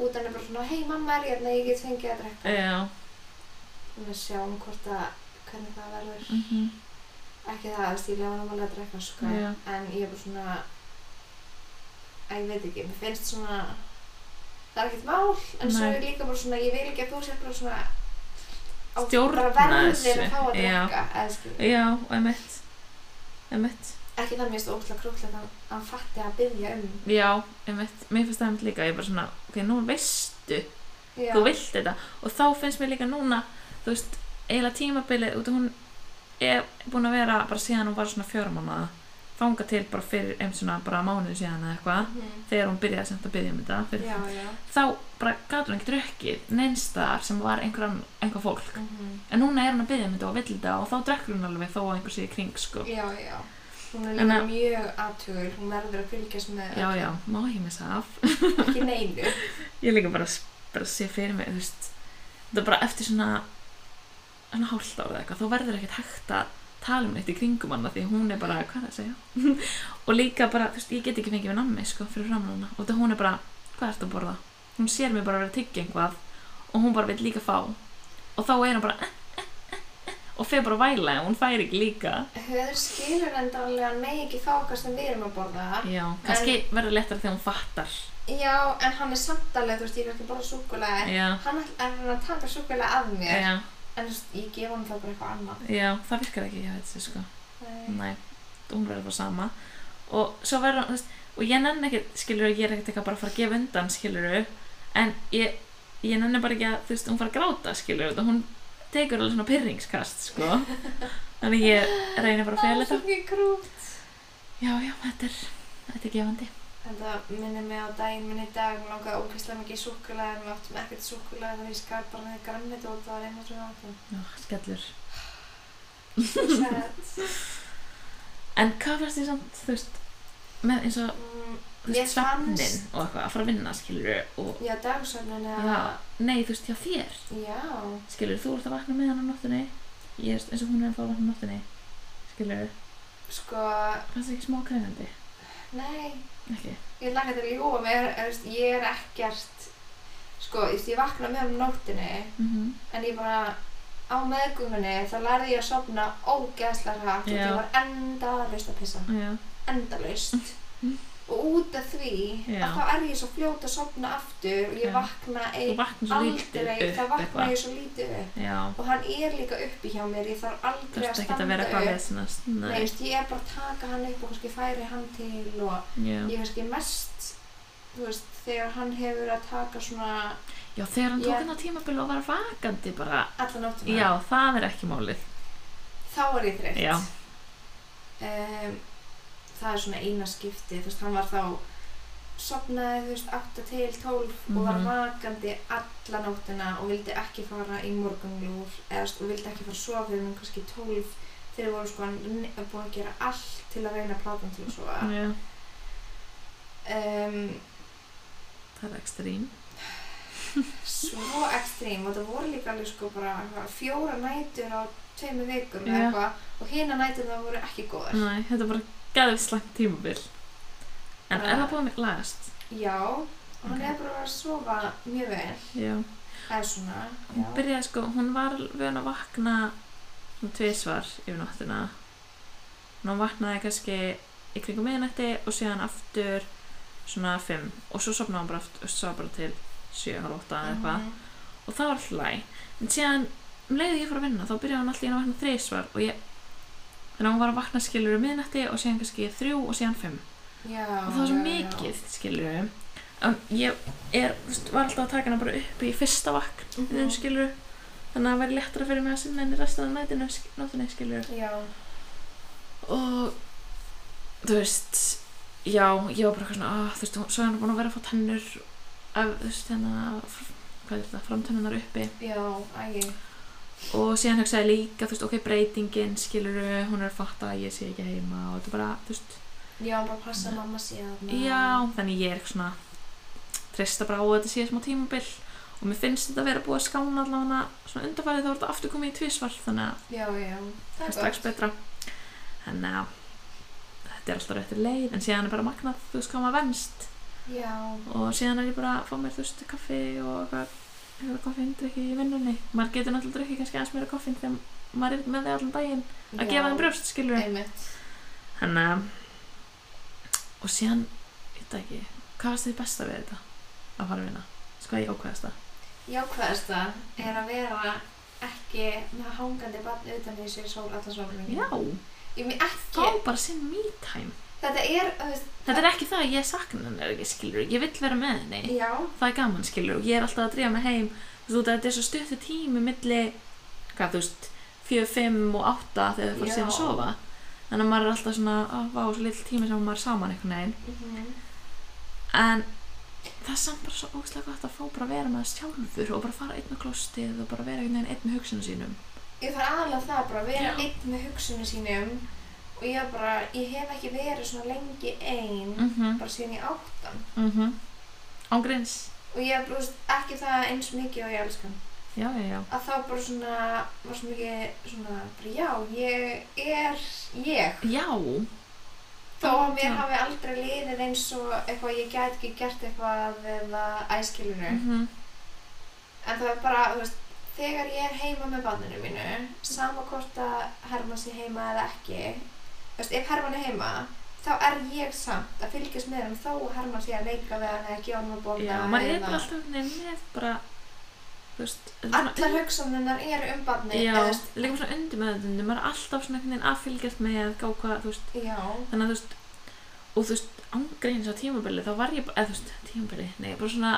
Speaker 1: út af hann er bara svona, hei mamma er ég hérna, ég get fengið að drekka.
Speaker 2: já.
Speaker 1: Þannig að sjáum hvort að, hvernig það verður.
Speaker 2: mhm,
Speaker 1: ekki það, þú veist, ég lefa náttúrulega að drekka sko,
Speaker 2: Já.
Speaker 1: en ég er bara svona að ég veit ekki, mér finnst svona það er ekkert mál, en svo
Speaker 2: Nei.
Speaker 1: er ég líka bara svona ég vil ekki að þú sér bara svona á
Speaker 2: Stjórna
Speaker 1: bara verðir
Speaker 2: þessu,
Speaker 1: að fá að
Speaker 2: já.
Speaker 1: drekka eða skil,
Speaker 2: Já, emitt. Emitt.
Speaker 1: ekki það mér finnst ógæslega krúklega að hann- hann fatti að byggja um
Speaker 2: Já, emitt. Mér finnst það emitt líka. Ég er bara svona, ok, nú veistu,
Speaker 1: já,
Speaker 2: þú vilt þetta. Og þá finnst mér líka núna, þú veist, eiginlega tímabilið, út af hún er búin að vera bara síðan hún var svona fjóra mánuða. Þanga til bara fyrir einn svona bara mánuð síðan eða eitthvað.
Speaker 1: Mhm.
Speaker 2: Þegar hún byrjaði samt að byrja um þetta. Fyrir,
Speaker 1: já, já
Speaker 2: Þá bara gátur hún ekki drukkið neinstaðar sem var einhver, ann- einhver fólk.
Speaker 1: Mhm.
Speaker 2: En núna er hún að byrja um þetta og vill þetta og þá drekkur hún alveg þó að einhver sé í kring, sko.
Speaker 1: já, já hún er
Speaker 2: En
Speaker 1: líka
Speaker 2: að-
Speaker 1: mjög aðtugur hún verður að fylgjast með
Speaker 2: Já,
Speaker 1: öllu.
Speaker 2: já, má ég missa af.
Speaker 1: ekki neinu
Speaker 2: Ég líka bara, bara sé fyrir mig, þú veist, þetta er bara eftir svona, svona hálft ára eða eitthvað, þá verður ekkert hægt að tala um neitt í kringum hana því hún er bara, hvað er það að segja? og líka bara, þú veist, ég get ekki fengið við nammi, sko, fyrir framan hana og það hún er bara, hvað ertu að borða? Hún sér mig bara að vera að tyggja einhvað og hún bara vil líka fá og þá er hún bara "Eh, eh, eh, eh," og fer bara að væla en hún fær ekki líka
Speaker 1: höður skilur enda alveg að hann megi ekki fá hvað sem við erum að borða
Speaker 2: Já, kannski verður lettar þegar hún fattar
Speaker 1: Já, en hann er samt alveg, þú veist, ég er ekki bara súkulega, en
Speaker 2: Já,
Speaker 1: hann ætl- er hann að taka súkulega af mér,
Speaker 2: já,
Speaker 1: en þú veist, ég gef hann þá bara eitthvað annað.
Speaker 2: já, það virkar ekki, ég veit þessi, sko
Speaker 1: Nei.
Speaker 2: Nei, hún verður bara sama og svo verður hún, þú veist, og ég nenni ekki, skilur, ég er ekkert eitthvað bara að fara að gefa undan, skilur, en ég, ég nenni bara ekki að, þú veist, hún fara að gráta, skilur, og hún tekur alveg svona pyrringskast, sko, þannig ég reynir bara að
Speaker 1: Það
Speaker 2: fela
Speaker 1: er svo
Speaker 2: þetta.
Speaker 1: ekki grút.
Speaker 2: Já, já, þetta er, þetta er gefandi.
Speaker 1: Þetta minnir mig á daginn minn í dag, mér langaði ókvæslega mikið í súkulega, en við áttum ekkert súkulega, þannig ég skar bara með grannit og það var einu sem við áttum.
Speaker 2: Já, skellur.
Speaker 1: Sætt.
Speaker 2: En hvað fannst ég samt, þú veist, með eins og,
Speaker 1: Mm,
Speaker 2: þú
Speaker 1: Ég
Speaker 2: veist, svefnin
Speaker 1: fannst-
Speaker 2: og eitthvað, að fara að vinna, skilur, og,
Speaker 1: já, dagsöfnin eða...
Speaker 2: já, nei, þú veist, hjá þér,
Speaker 1: Já.
Speaker 2: skilur, þú ert að vakna með hann á nóttunni ég er eins og hún er ennþá að vakna á nóttunni skilur,
Speaker 1: Sko,
Speaker 2: fannst það ekki smá krefandi
Speaker 1: nei,
Speaker 2: ekki,
Speaker 1: ég langa þetta að ljúa mér, en, þú veist, ég er ekkert... Sko, þú veist, ég vakna með um nóttinni,
Speaker 2: mm -hmm.
Speaker 1: en ég bara á meðgöngunni þá lærði ég að sofna ógeðslega hratt og
Speaker 2: Já.
Speaker 1: ég var endalaust að pissa
Speaker 2: já,
Speaker 1: endalaust og út af því
Speaker 2: Já.
Speaker 1: að þá er ég svo fljót að sofna aftur og ég
Speaker 2: Já.
Speaker 1: vakna
Speaker 2: þú
Speaker 1: ei,
Speaker 2: vaknar svo lítið
Speaker 1: aldrei
Speaker 2: upp
Speaker 1: þá vakna
Speaker 2: eitthvað
Speaker 1: ég svo lítið upp
Speaker 2: já,
Speaker 1: og hann er líka uppi hjá mér ég þarf
Speaker 2: þú
Speaker 1: aldrei að
Speaker 2: veist ekki
Speaker 1: standa
Speaker 2: að vera eitthvað
Speaker 1: upp
Speaker 2: veðsynast
Speaker 1: Nei,
Speaker 2: nei,
Speaker 1: veist, ég er bara að taka hann upp og kannski færi hann til og
Speaker 2: já.
Speaker 1: ég kannski mest þú veist, þegar hann hefur að taka svona
Speaker 2: já, þegar hann tók
Speaker 1: Ég-
Speaker 2: hann á tímabil og var vakandi bara,
Speaker 1: alla nóttina
Speaker 2: já, það er ekki málið
Speaker 1: þá er ég þreytt
Speaker 2: Já.
Speaker 1: Em, það er svona eina skipti þú veist, hann var þá sopnaði, þú veist, 8 til 12 og var
Speaker 2: Mhm.
Speaker 1: vakandi alla nóttina og vildi ekki fara í morgunljúr eða, þú veist, og vildi ekki fara að sofa fyrir um kannski 12 þegar voru sko ne- búin að gera allt til að reyna að plata hann til að sofa
Speaker 2: já,
Speaker 1: um,
Speaker 2: það er ekstrím
Speaker 1: svo ekstrím og það voru líka alveg sko bara eitthvað fjóra nætur á tveimu vikum eða
Speaker 2: Já.
Speaker 1: eitthvað og hina nætur það voru ekki góðar
Speaker 2: nei, þetta er bara gæðið slæmt tímabil en
Speaker 1: Bara-
Speaker 2: er það búin að lagast
Speaker 1: Já, og hann
Speaker 2: Ok.
Speaker 1: er bara að sofa mjög vel,
Speaker 2: já,
Speaker 1: eða svona,
Speaker 2: hún
Speaker 1: já.
Speaker 2: byrjaði sko, hún var vön að vakna svona tvisvar yfir nóttina en hún vaknaði kannski í kringum miðnætti og síðan aftur svona fimm og svo sopnaði hún bara aftur, svo bara til sjö, halv átta eða eitthvað
Speaker 1: Mhm.
Speaker 2: og það var hlæ en síðan, um leiði ég fór að vinna þá byrjaði hún alltaf að vakna þrisvar og ég þannig að hún var að vakna skilur um miðnætti og síðan kannski þrjú og síðan fimm
Speaker 1: Já,
Speaker 2: og það var
Speaker 1: já,
Speaker 2: svo
Speaker 1: já.
Speaker 2: mikið, skilur við en ég er, þú veist, var alltaf að taka hana bara upp í fyrsta vakn mm
Speaker 1: Mhm.
Speaker 2: skilur við þannig að það væri léttara fyrir mig að sinna henni restan af nætinu, sk- nóttinni, skilur við
Speaker 1: Já,
Speaker 2: og þú veist já, ég var bara eitthvað svona ah, þú veist, hún- svo er hann búin að vera að fá tennur af, þú veist, hérna fr- hvað er þetta, framtennunar uppi
Speaker 1: já, ægi,
Speaker 2: og síðan hugsaði ég líka, þú veist, ok, breytingin skilur, hún er að fatta að ég sé ekki heima og þetta er bara, þú veist,
Speaker 1: Já, hann bara að passa að mamma síðan.
Speaker 2: Mhm. já, þannig ég er eitthvað svona trista bara á að þetta sé smá tímabil og mér finnst þetta að vera búið að skána allavega svona undarfærið þá er þetta aftur komið í tvísvar þannig að
Speaker 1: Já, já. Það
Speaker 2: það
Speaker 1: er
Speaker 2: er strax
Speaker 1: gott.
Speaker 2: betra þannig að þetta er alltaf réttir leið en síðan er bara magnað, þú veist, hvað maður venst
Speaker 1: Já.
Speaker 2: og síðan er ég bara að fá mér þú veist kaffi og eitthvað eitthvað koffin, drikki í vinnunni maður getur náttúrulega drikki kannski aðeins meira koffin þegar maður er með þig allan daginn að
Speaker 1: Já,
Speaker 2: gefa þeim brjóst, skilur
Speaker 1: Einmitt.
Speaker 2: þannig að og síðan, ég veit það ekki hvað varst þið besta við þetta að fara að vinna sko að ég ákveðast það
Speaker 1: Jákvæðasta er að vera ekki með hangandi barn utan því sér sól allan sólum.
Speaker 2: já,
Speaker 1: Ég mér
Speaker 2: þá
Speaker 1: ekki.
Speaker 2: bara sinn me time
Speaker 1: Þetta er, þú veist,
Speaker 2: þetta er ekki það að ég sakna hennar ekki skilur ég vill vera með henni
Speaker 1: já.
Speaker 2: það er gaman skilur og ég er alltaf að drífa mig heim þú veist þetta er svo stuttu tími milli hvað þú veist 4, 5 og 8 þegar þú fyrir
Speaker 1: Já.
Speaker 2: síðan að sofa þannig að maður er alltaf svona að vá svo lill tími sem maður er saman einhvern veginn
Speaker 1: mhm.
Speaker 2: en það er samt bara svo ógæslega gott að fá bara að vera með þess sjálfur og bara fara einn á klostið og bara vera einhvern veginn einn með hugsunum sínum
Speaker 1: Ég þarf aðalega það bara að vera
Speaker 2: Já.
Speaker 1: einn með hugsunum sínum og ég var bara, ég hef ekki verið svona lengi einn,
Speaker 2: mhm, mhm
Speaker 1: bara síðan ég áttan.
Speaker 2: ángríns
Speaker 1: Og ég hef ekki það eins mikið og ég elskan.
Speaker 2: já, já, já,
Speaker 1: að þá bara svona var svo mikið svona bara já, ég er ég
Speaker 2: já
Speaker 1: þó að mér
Speaker 2: Já.
Speaker 1: hafi aldrei liðið eins og eitthvað ég gæti ekki gert eitthvað eða æskilinu
Speaker 2: mhm,
Speaker 1: en það er bara, þú veist, þegar ég er heima með banninu mínu sama hvort að Herman sé heima eða ekki þú veist, ef Herman er heima þá er ég samt að fylgjast með hann þó að Herman sé að leika við hann eða ekki á hann að
Speaker 2: já,
Speaker 1: borða
Speaker 2: maður er bara
Speaker 1: eða
Speaker 2: alltaf einhvern veginn með bara þú veist þetta er svona
Speaker 1: allar hugsanirnar eru um banni
Speaker 2: Já,
Speaker 1: eða, þú veist,
Speaker 2: líka bara svona undir meðutundum, maður er alltaf svona einhvern veginn að fylgjast með, gá hvað, þú veist,
Speaker 1: já
Speaker 2: þannig að þú veist, og þú veist, ángreins á tímabili, þá var ég bara, eða þú veist, tímabili, nei, bara svona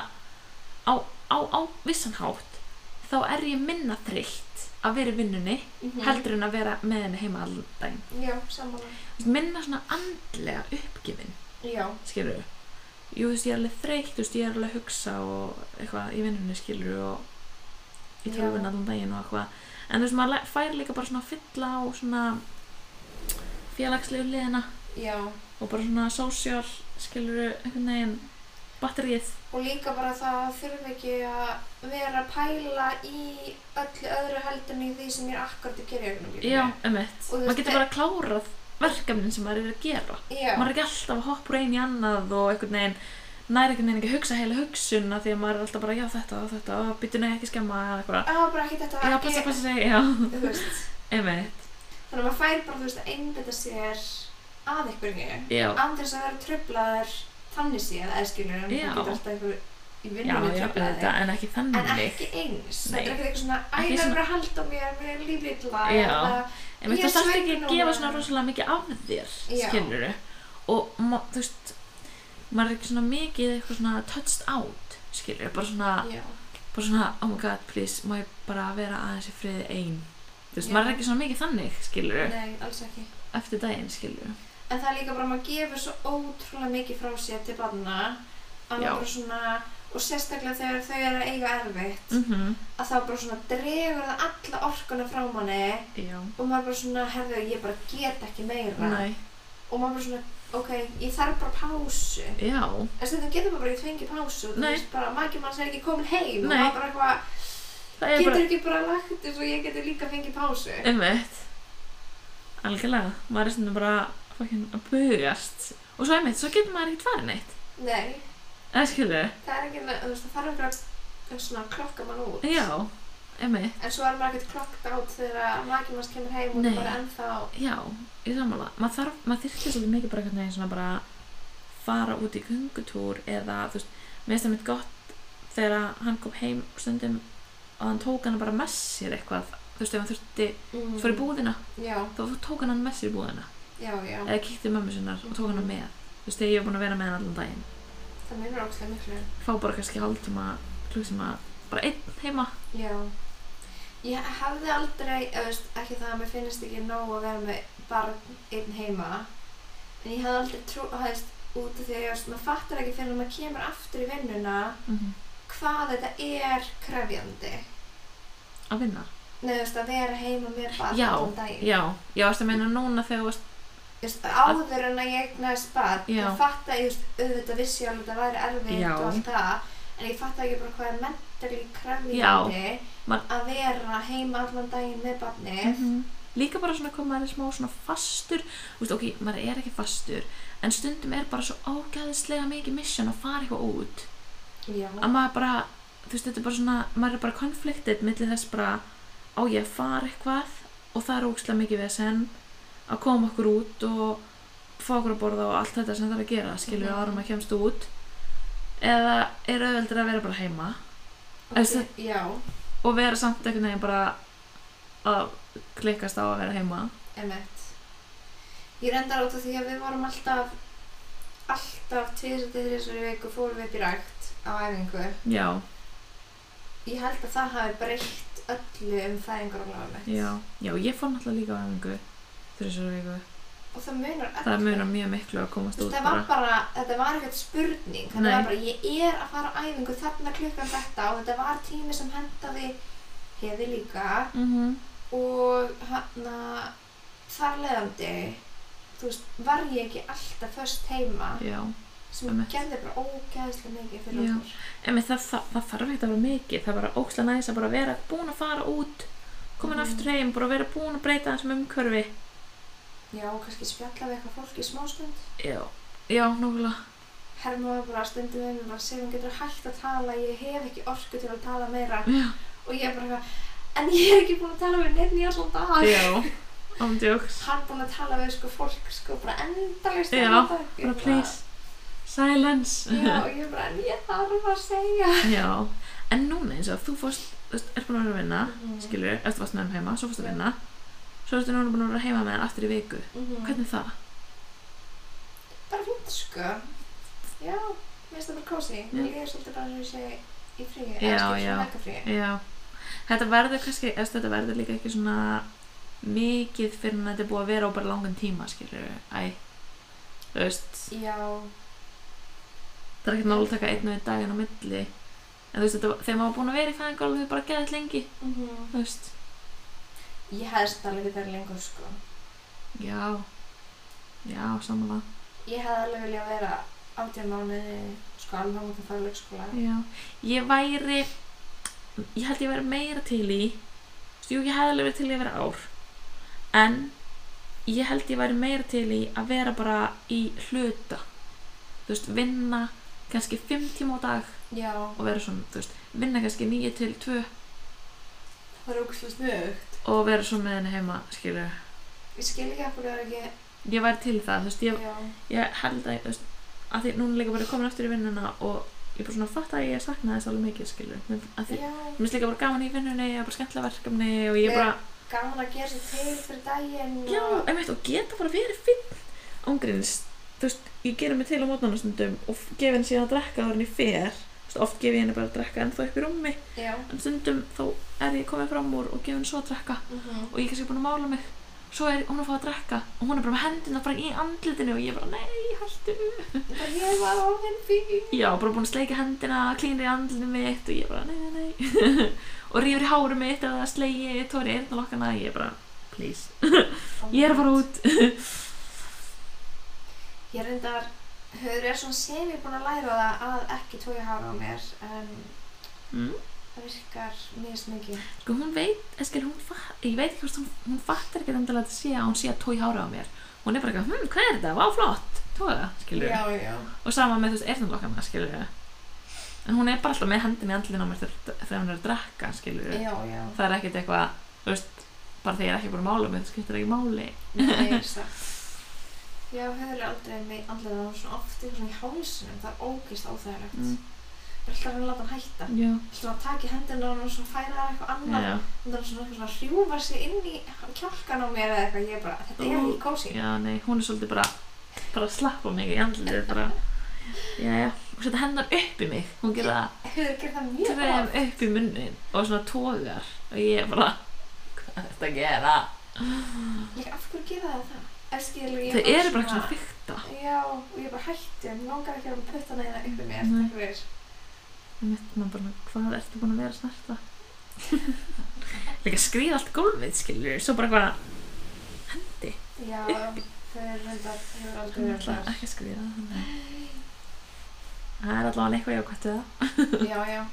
Speaker 2: á, á, á vissan hátt, þá er ég minna þreytt að vera í vinnunni,
Speaker 1: Mhm.
Speaker 2: heldur en að vera með henni heima allan daginn.
Speaker 1: já, samanlega
Speaker 2: Þú veist, minna svona andlega uppgifin,
Speaker 1: já,
Speaker 2: skilur við. Jú, þú veist, ég er alveg þreytt, þú veist, ég er alveg að hugsa og eitthvað í vinnunni, skilur og í
Speaker 1: Já.
Speaker 2: tölvun allan daginn og eitthvað. En þú veist, maður læ- fær líka bara svona að fylla á svona félagslegu liðina
Speaker 1: já
Speaker 2: og bara svona sósjál, skilur einhvern veginn, batterið.
Speaker 1: og líka bara það að þurfa ekki að vera að pæla í öllu öðru heldinni því sem ég er akkurat að gera í augnum
Speaker 2: Já, um
Speaker 1: Og
Speaker 2: eitt.
Speaker 1: þú
Speaker 2: Maður
Speaker 1: veist, e-
Speaker 2: getur bara klárað verkefnin sem maður er að gera.
Speaker 1: Já,
Speaker 2: Maður er ekki alltaf að hoppa úr einu í annað og einhvern veginn nær einhvern veginn ekki að hugsa heila hugsun af því að maður er alltaf bara, já þetta og þetta og byttu nei ekki skemma eða eitthvað.
Speaker 1: það var bara ekki þetta
Speaker 2: Já,
Speaker 1: ekki-
Speaker 2: passa, passa, segi, já,
Speaker 1: Þú veist,
Speaker 2: um eitt.
Speaker 1: þannig að maður fær bara þú veist að einbytta sér að einhverju
Speaker 2: Já,
Speaker 1: án þess að vera tröflaður þannig séð eða skilur en
Speaker 2: Já.
Speaker 1: það getur alltaf einhver í
Speaker 2: já,
Speaker 1: vinnunni
Speaker 2: já,
Speaker 1: tröflaði
Speaker 2: þetta, en ekki
Speaker 1: en
Speaker 2: þannig.
Speaker 1: ekki eins
Speaker 2: Nei.
Speaker 1: þetta er ekki eitthvað svona æ, það
Speaker 2: Ekki
Speaker 1: er
Speaker 2: svona-
Speaker 1: bara að halda á mér, mér er lífrilla
Speaker 2: Já.
Speaker 1: eða-
Speaker 2: En veit,
Speaker 1: Ég
Speaker 2: það þarf ekki
Speaker 1: sveik
Speaker 2: að
Speaker 1: núna.
Speaker 2: gefa svona rosalega mikið af þér,
Speaker 1: Já.
Speaker 2: skilur Og ma, þú veist, maður er ekki svona mikið eitthvað svona touched out, skilur Bara svona,
Speaker 1: Já.
Speaker 2: bara svona, oh my god, please, má ég bara vera aðeins í friði ein Þú veist,
Speaker 1: Já.
Speaker 2: maður er ekki svona mikið þannig, skilur
Speaker 1: nei, alls ekki
Speaker 2: Eftir daginn, skilur
Speaker 1: En það er líka bara að maður gefur svo ótrúlega mikið frá sér til barna að
Speaker 2: Já.
Speaker 1: maður bara svona, og sérstaklega þegar þau eru að eiga erfitt
Speaker 2: mm -hmm.
Speaker 1: að þá bara svona dregur það alla orkuna frá manni
Speaker 2: Já,
Speaker 1: og maður bara svona, herðu, ég bara get ekki meira
Speaker 2: næ,
Speaker 1: og maður bara svona, ok, ég þarf bara pásu
Speaker 2: já,
Speaker 1: en stundum getur maður bara ekki fengið pásu þú
Speaker 2: Nei.
Speaker 1: veist bara, maki manns er ekki komin heim
Speaker 2: Nei.
Speaker 1: og maður bara eitthvað,
Speaker 2: það er
Speaker 1: getur
Speaker 2: bara,
Speaker 1: ekki bara lagt eins og ég getur líka fengið pásu
Speaker 2: um Algjörlega, maður er svona bara fucking að bugast Og svo um svo getur maður ekkert farið neitt
Speaker 1: Nei,
Speaker 2: Eða skilur
Speaker 1: það er ekki, þú veist, það þarf ekki að svona klokka mann út
Speaker 2: Já, emmi,
Speaker 1: En svo er maður ekkert klokkt át þegar makið manns kemur heim og
Speaker 2: Nei.
Speaker 1: er bara ennþá
Speaker 2: já, ég sammála. Maður þarf, maður þyrfti svolítið mikið bara einhvern veginn svona bara fara út í göngutúr eða, þú veist, mér finnst það mitt gott þegar að hann kom heim stundum og hann tók hann bara með sér eitthvað, þú veist, ef hann þurfti
Speaker 1: mm.
Speaker 2: fór í búðina,
Speaker 1: Já,
Speaker 2: þá tók hann hann með sér í búðina
Speaker 1: já, já.
Speaker 2: eða kíkti mömmu sinnar og tók hann með þú veist, þegar ég var búin að vera með hann allan daginn
Speaker 1: Það minnur ókslega miklu.
Speaker 2: fá bara kannski hálftíma, klukkstíma bara einn heima
Speaker 1: Já. Ég hefði aldrei, eða veist, ekki það að mér finnist ekki nóg að vera með barn einn heima. En ég hefði aldrei trú, þú veist, út af því að ég veist, maður fattar ekki fyrir að maður kemur aftur í vinnuna
Speaker 2: mm -hmm.
Speaker 1: hvað þetta er krefjandi.
Speaker 2: að vinna
Speaker 1: Nei, þú veist, að vera heima með barn
Speaker 2: Já,
Speaker 1: allan daginn.
Speaker 2: já, já, varstu að meina núna þegar þú varst
Speaker 1: Þú veist, áður en að ég egnaðist barn,
Speaker 2: Já.
Speaker 1: ég fatt að ég veist, auðvitað vissi alveg að þetta væri erfitt
Speaker 2: Já.
Speaker 1: og allt það, en ég fatt ekki bara hvað er mentally krefjandi
Speaker 2: Man-
Speaker 1: að vera heima allan daginn með barnið.
Speaker 2: Mhm. líka bara svona hvað maður er smá svona fastur Þú veist, ok, maður er ekki fastur en stundum er bara svo ógæðislega mikið mission að fara eitthvað út
Speaker 1: Já.
Speaker 2: að maður bara, þú veist, þetta er bara svona maður er bara konfliktið millir þess bara á ég að fara eitthvað og það er ógæðislega mikið vesen að koma okkur út og fá okkur að borða og allt þetta sem það er að gera skilur við
Speaker 1: Mhm.
Speaker 2: árum að kemst út eða er auðveldur að vera bara heima
Speaker 1: Og
Speaker 2: Þú veist,
Speaker 1: þi- Já,
Speaker 2: og vera samt einhvern veginn bara að klikkast á að vera heima
Speaker 1: emmett. Ég reyndar út af því að við vorum alltaf, alltaf tvisar til þessari viku fórum við upp í rækt á æfingu.
Speaker 2: já,
Speaker 1: Ég held að það hafi breytt öllu um fæðingar og mitt.
Speaker 2: já, já, ég fór náttúrulega líka á æfingu þrjusar viku,
Speaker 1: Og það munar öllu.
Speaker 2: það munar mjög miklu að komast
Speaker 1: Þú
Speaker 2: út
Speaker 1: veist, það var
Speaker 2: bara
Speaker 1: bara, þetta var ekkert spurning, þetta
Speaker 2: Nei.
Speaker 1: var bara, ég er að fara á æfingu þarna klukkan þetta og þetta var tími sem hendaði hefði líka
Speaker 2: mm
Speaker 1: og hann að þar leiðandi, þú veist, var ég ekki alltaf först heima
Speaker 2: já,
Speaker 1: sem
Speaker 2: einmitt.
Speaker 1: gerði bara ógæðslega mikið fyrir
Speaker 2: Já.
Speaker 1: okkur.
Speaker 2: en það, það, það þarf ekkert að vera mikið það er bara ókslega næs að bara vera búin að fara út komin
Speaker 1: Mhm.
Speaker 2: aftur heim, bara vera búin að breyta þessum umhverfi
Speaker 1: Já, og kannski spjalla við eitthvað fólk í smástund.
Speaker 2: já, já, nákvæmlega
Speaker 1: Herma var bara stundum við mér bara að segja, hún getur hægt að tala, ég hef ekki orku til að tala meira
Speaker 2: já,
Speaker 1: og ég er bara eitthvað, en ég er ekki búin að tala við neitt nýja svona dag.
Speaker 2: já, ándjóks
Speaker 1: hann búinn að tala við sko fólk sko bara endalist
Speaker 2: Já, bara please, silence
Speaker 1: Já, og ég bara, en ég þarf að segja
Speaker 2: Já, en núna eins og þú fórst, þú veist, ert búin að vera að vinna,
Speaker 1: Mhm.
Speaker 2: skilur, eftir varst með hann heima, svo fórst að vinna, svo ertu núna búin að vera heima með hann aftur í viku. Hvernig er það?
Speaker 1: mhm. Bara fínt sko Já, mér finnst það bara kósi Mér líður svolítið bara eins og ég sé í fríi
Speaker 2: Já,
Speaker 1: eða skilur
Speaker 2: já.
Speaker 1: svona leika fríi
Speaker 2: Já, þetta verður kannski, eða þetta verður líka ekki svona mikið fyrir en þetta er búið að vera á bara langan tíma, skilur, æ, þú veist,
Speaker 1: Já,
Speaker 2: það er ekkert mál að taka einn og einn daginn á milli, en þú veist, þetta, var- þegar maður var búin að vera í fæðingar alveg bara geðið lengi,
Speaker 1: mhm.
Speaker 2: þú veist,
Speaker 1: ég hefði þetta alveg verið lengur sko
Speaker 2: já, já, samanlega.
Speaker 1: Ég hefði alveg viljað vera átján mánuði sko alveg út að fara í leikskóla
Speaker 2: Já, ég væri ég held ég væri meira til í þú veist, jú, ég hefði alveg verið til í að vera ár en ég held ég væri meira til í að vera bara í hluta þú veist, vinna kannski 5 tíma á dag
Speaker 1: Já,
Speaker 2: og vera svona, þú veist, vinna kannski 9 til 2
Speaker 1: það er ógustlega snugt
Speaker 2: og vera svona með henni heima, skilur
Speaker 1: Ég skil ekki af hverju það er ekki
Speaker 2: ég væri til í það, þú veist, ég,
Speaker 1: Já,
Speaker 2: ég held að, þú veist, að því núna líka bara komin aftur í vinnuna og ég bara svona fatt að ég sakna þess alveg mikið, skilur að því
Speaker 1: já
Speaker 2: Mér finnst líka bara gaman í vinnunni, ég er bara skemmtilega verkefni og ég er bara,
Speaker 1: Gaman að gera sér til fyrir daginn
Speaker 2: já,
Speaker 1: og...
Speaker 2: einmitt, og geta bara verið finn ángríns, þú veist, ég gera mig til á mótnarna stundum og f- gef henni síðan að drekka ára henni fer, þú veist, oft gef ég henni bara að drekka en þá upp í rúmi,
Speaker 1: Já.
Speaker 2: en stundum þá er ég komin fram úr og gef henni svo að drekka
Speaker 1: Mhm.
Speaker 2: og ég er kannski búin að mála mig, svo er hún að fá að drekka og hún er bara með hendina bara í andlitinu og ég er bara, nei, hættu,
Speaker 1: Bara ég var ofinn fín.
Speaker 2: já, bara búin að sleika hendina, klínir í andlitinu mitt og ég er bara, nei, nei, nei, og rífur í hárum mitt eða slegi, tóri eyrnalokkana, ég er bara, please. Ég er að fara út
Speaker 1: Ég reyndar, höfður er svona sem ég búin að læra það að ekki tója hár á mér, en
Speaker 2: mm.
Speaker 1: það virkar mjög mikið.
Speaker 2: Sko hún veit, eskil, hún fa- ég veit ekki hvort hún, hún fattar ekki endilega að þetta sé að hún sé að tói hára á mér Hún er bara eitthvað, hm, hvað er þetta, vá flott, tóða, skilur
Speaker 1: Já, já.
Speaker 2: Og sama með þessu eyrnlokkana, skilur En hún er bara alltaf með hendin í andlinn á mér þegar þegar hún er að drekka, skilur
Speaker 1: Já, já.
Speaker 2: Það er ekkert eitthvað, þú veist, bara þegar ég er ekki búin að mála mig, það skiptir ekki máli
Speaker 1: Nei, satt. Já, höfður er aldrei með andlega það var svona oft eitthvað svona í hálsunum, það er ógeist óþægilegt.
Speaker 2: mm.
Speaker 1: Ég er alltaf að reyna að láta hann hætta.
Speaker 2: Já,
Speaker 1: Alltaf að taka í hendina á hann og svona færa það eitthvað annað.
Speaker 2: já,
Speaker 1: Hún er svona eitthvað svona hrjúfa sig inn í kjálkan á mér eða eitthvað. Ég er bara, þetta er ekki kósi.
Speaker 2: já, nei, hún er svolítið bara, bara að slappa mig í andlitið, bara Já, já, og setja hendur upp í mig, hún gerir það
Speaker 1: Höfður gerir það mjög
Speaker 2: trefum upp í munnin og svona tóðar og ég er bara hvað er þetta að gera?
Speaker 1: Líka, af hverju gera það það? Ef skilur ég
Speaker 2: Þau eru bara svona fyrta
Speaker 1: Já, og ég bara hætti, mér langar ekki að vera með puttana hérna uppi mér,
Speaker 2: Nei.
Speaker 1: takk fyrir.
Speaker 2: og mitt maður bara, hvað ertu búin að vera að snerta? líka skrýða allt gólfið skilur svo bara eitthvað hendi
Speaker 1: Já, þau eru reyndar, hefur aldrei
Speaker 2: hann er
Speaker 1: verið
Speaker 2: alltaf
Speaker 1: þar.
Speaker 2: ekki að skrýða þannig það er allavega eitthvað jákvæmt við það
Speaker 1: Já, já.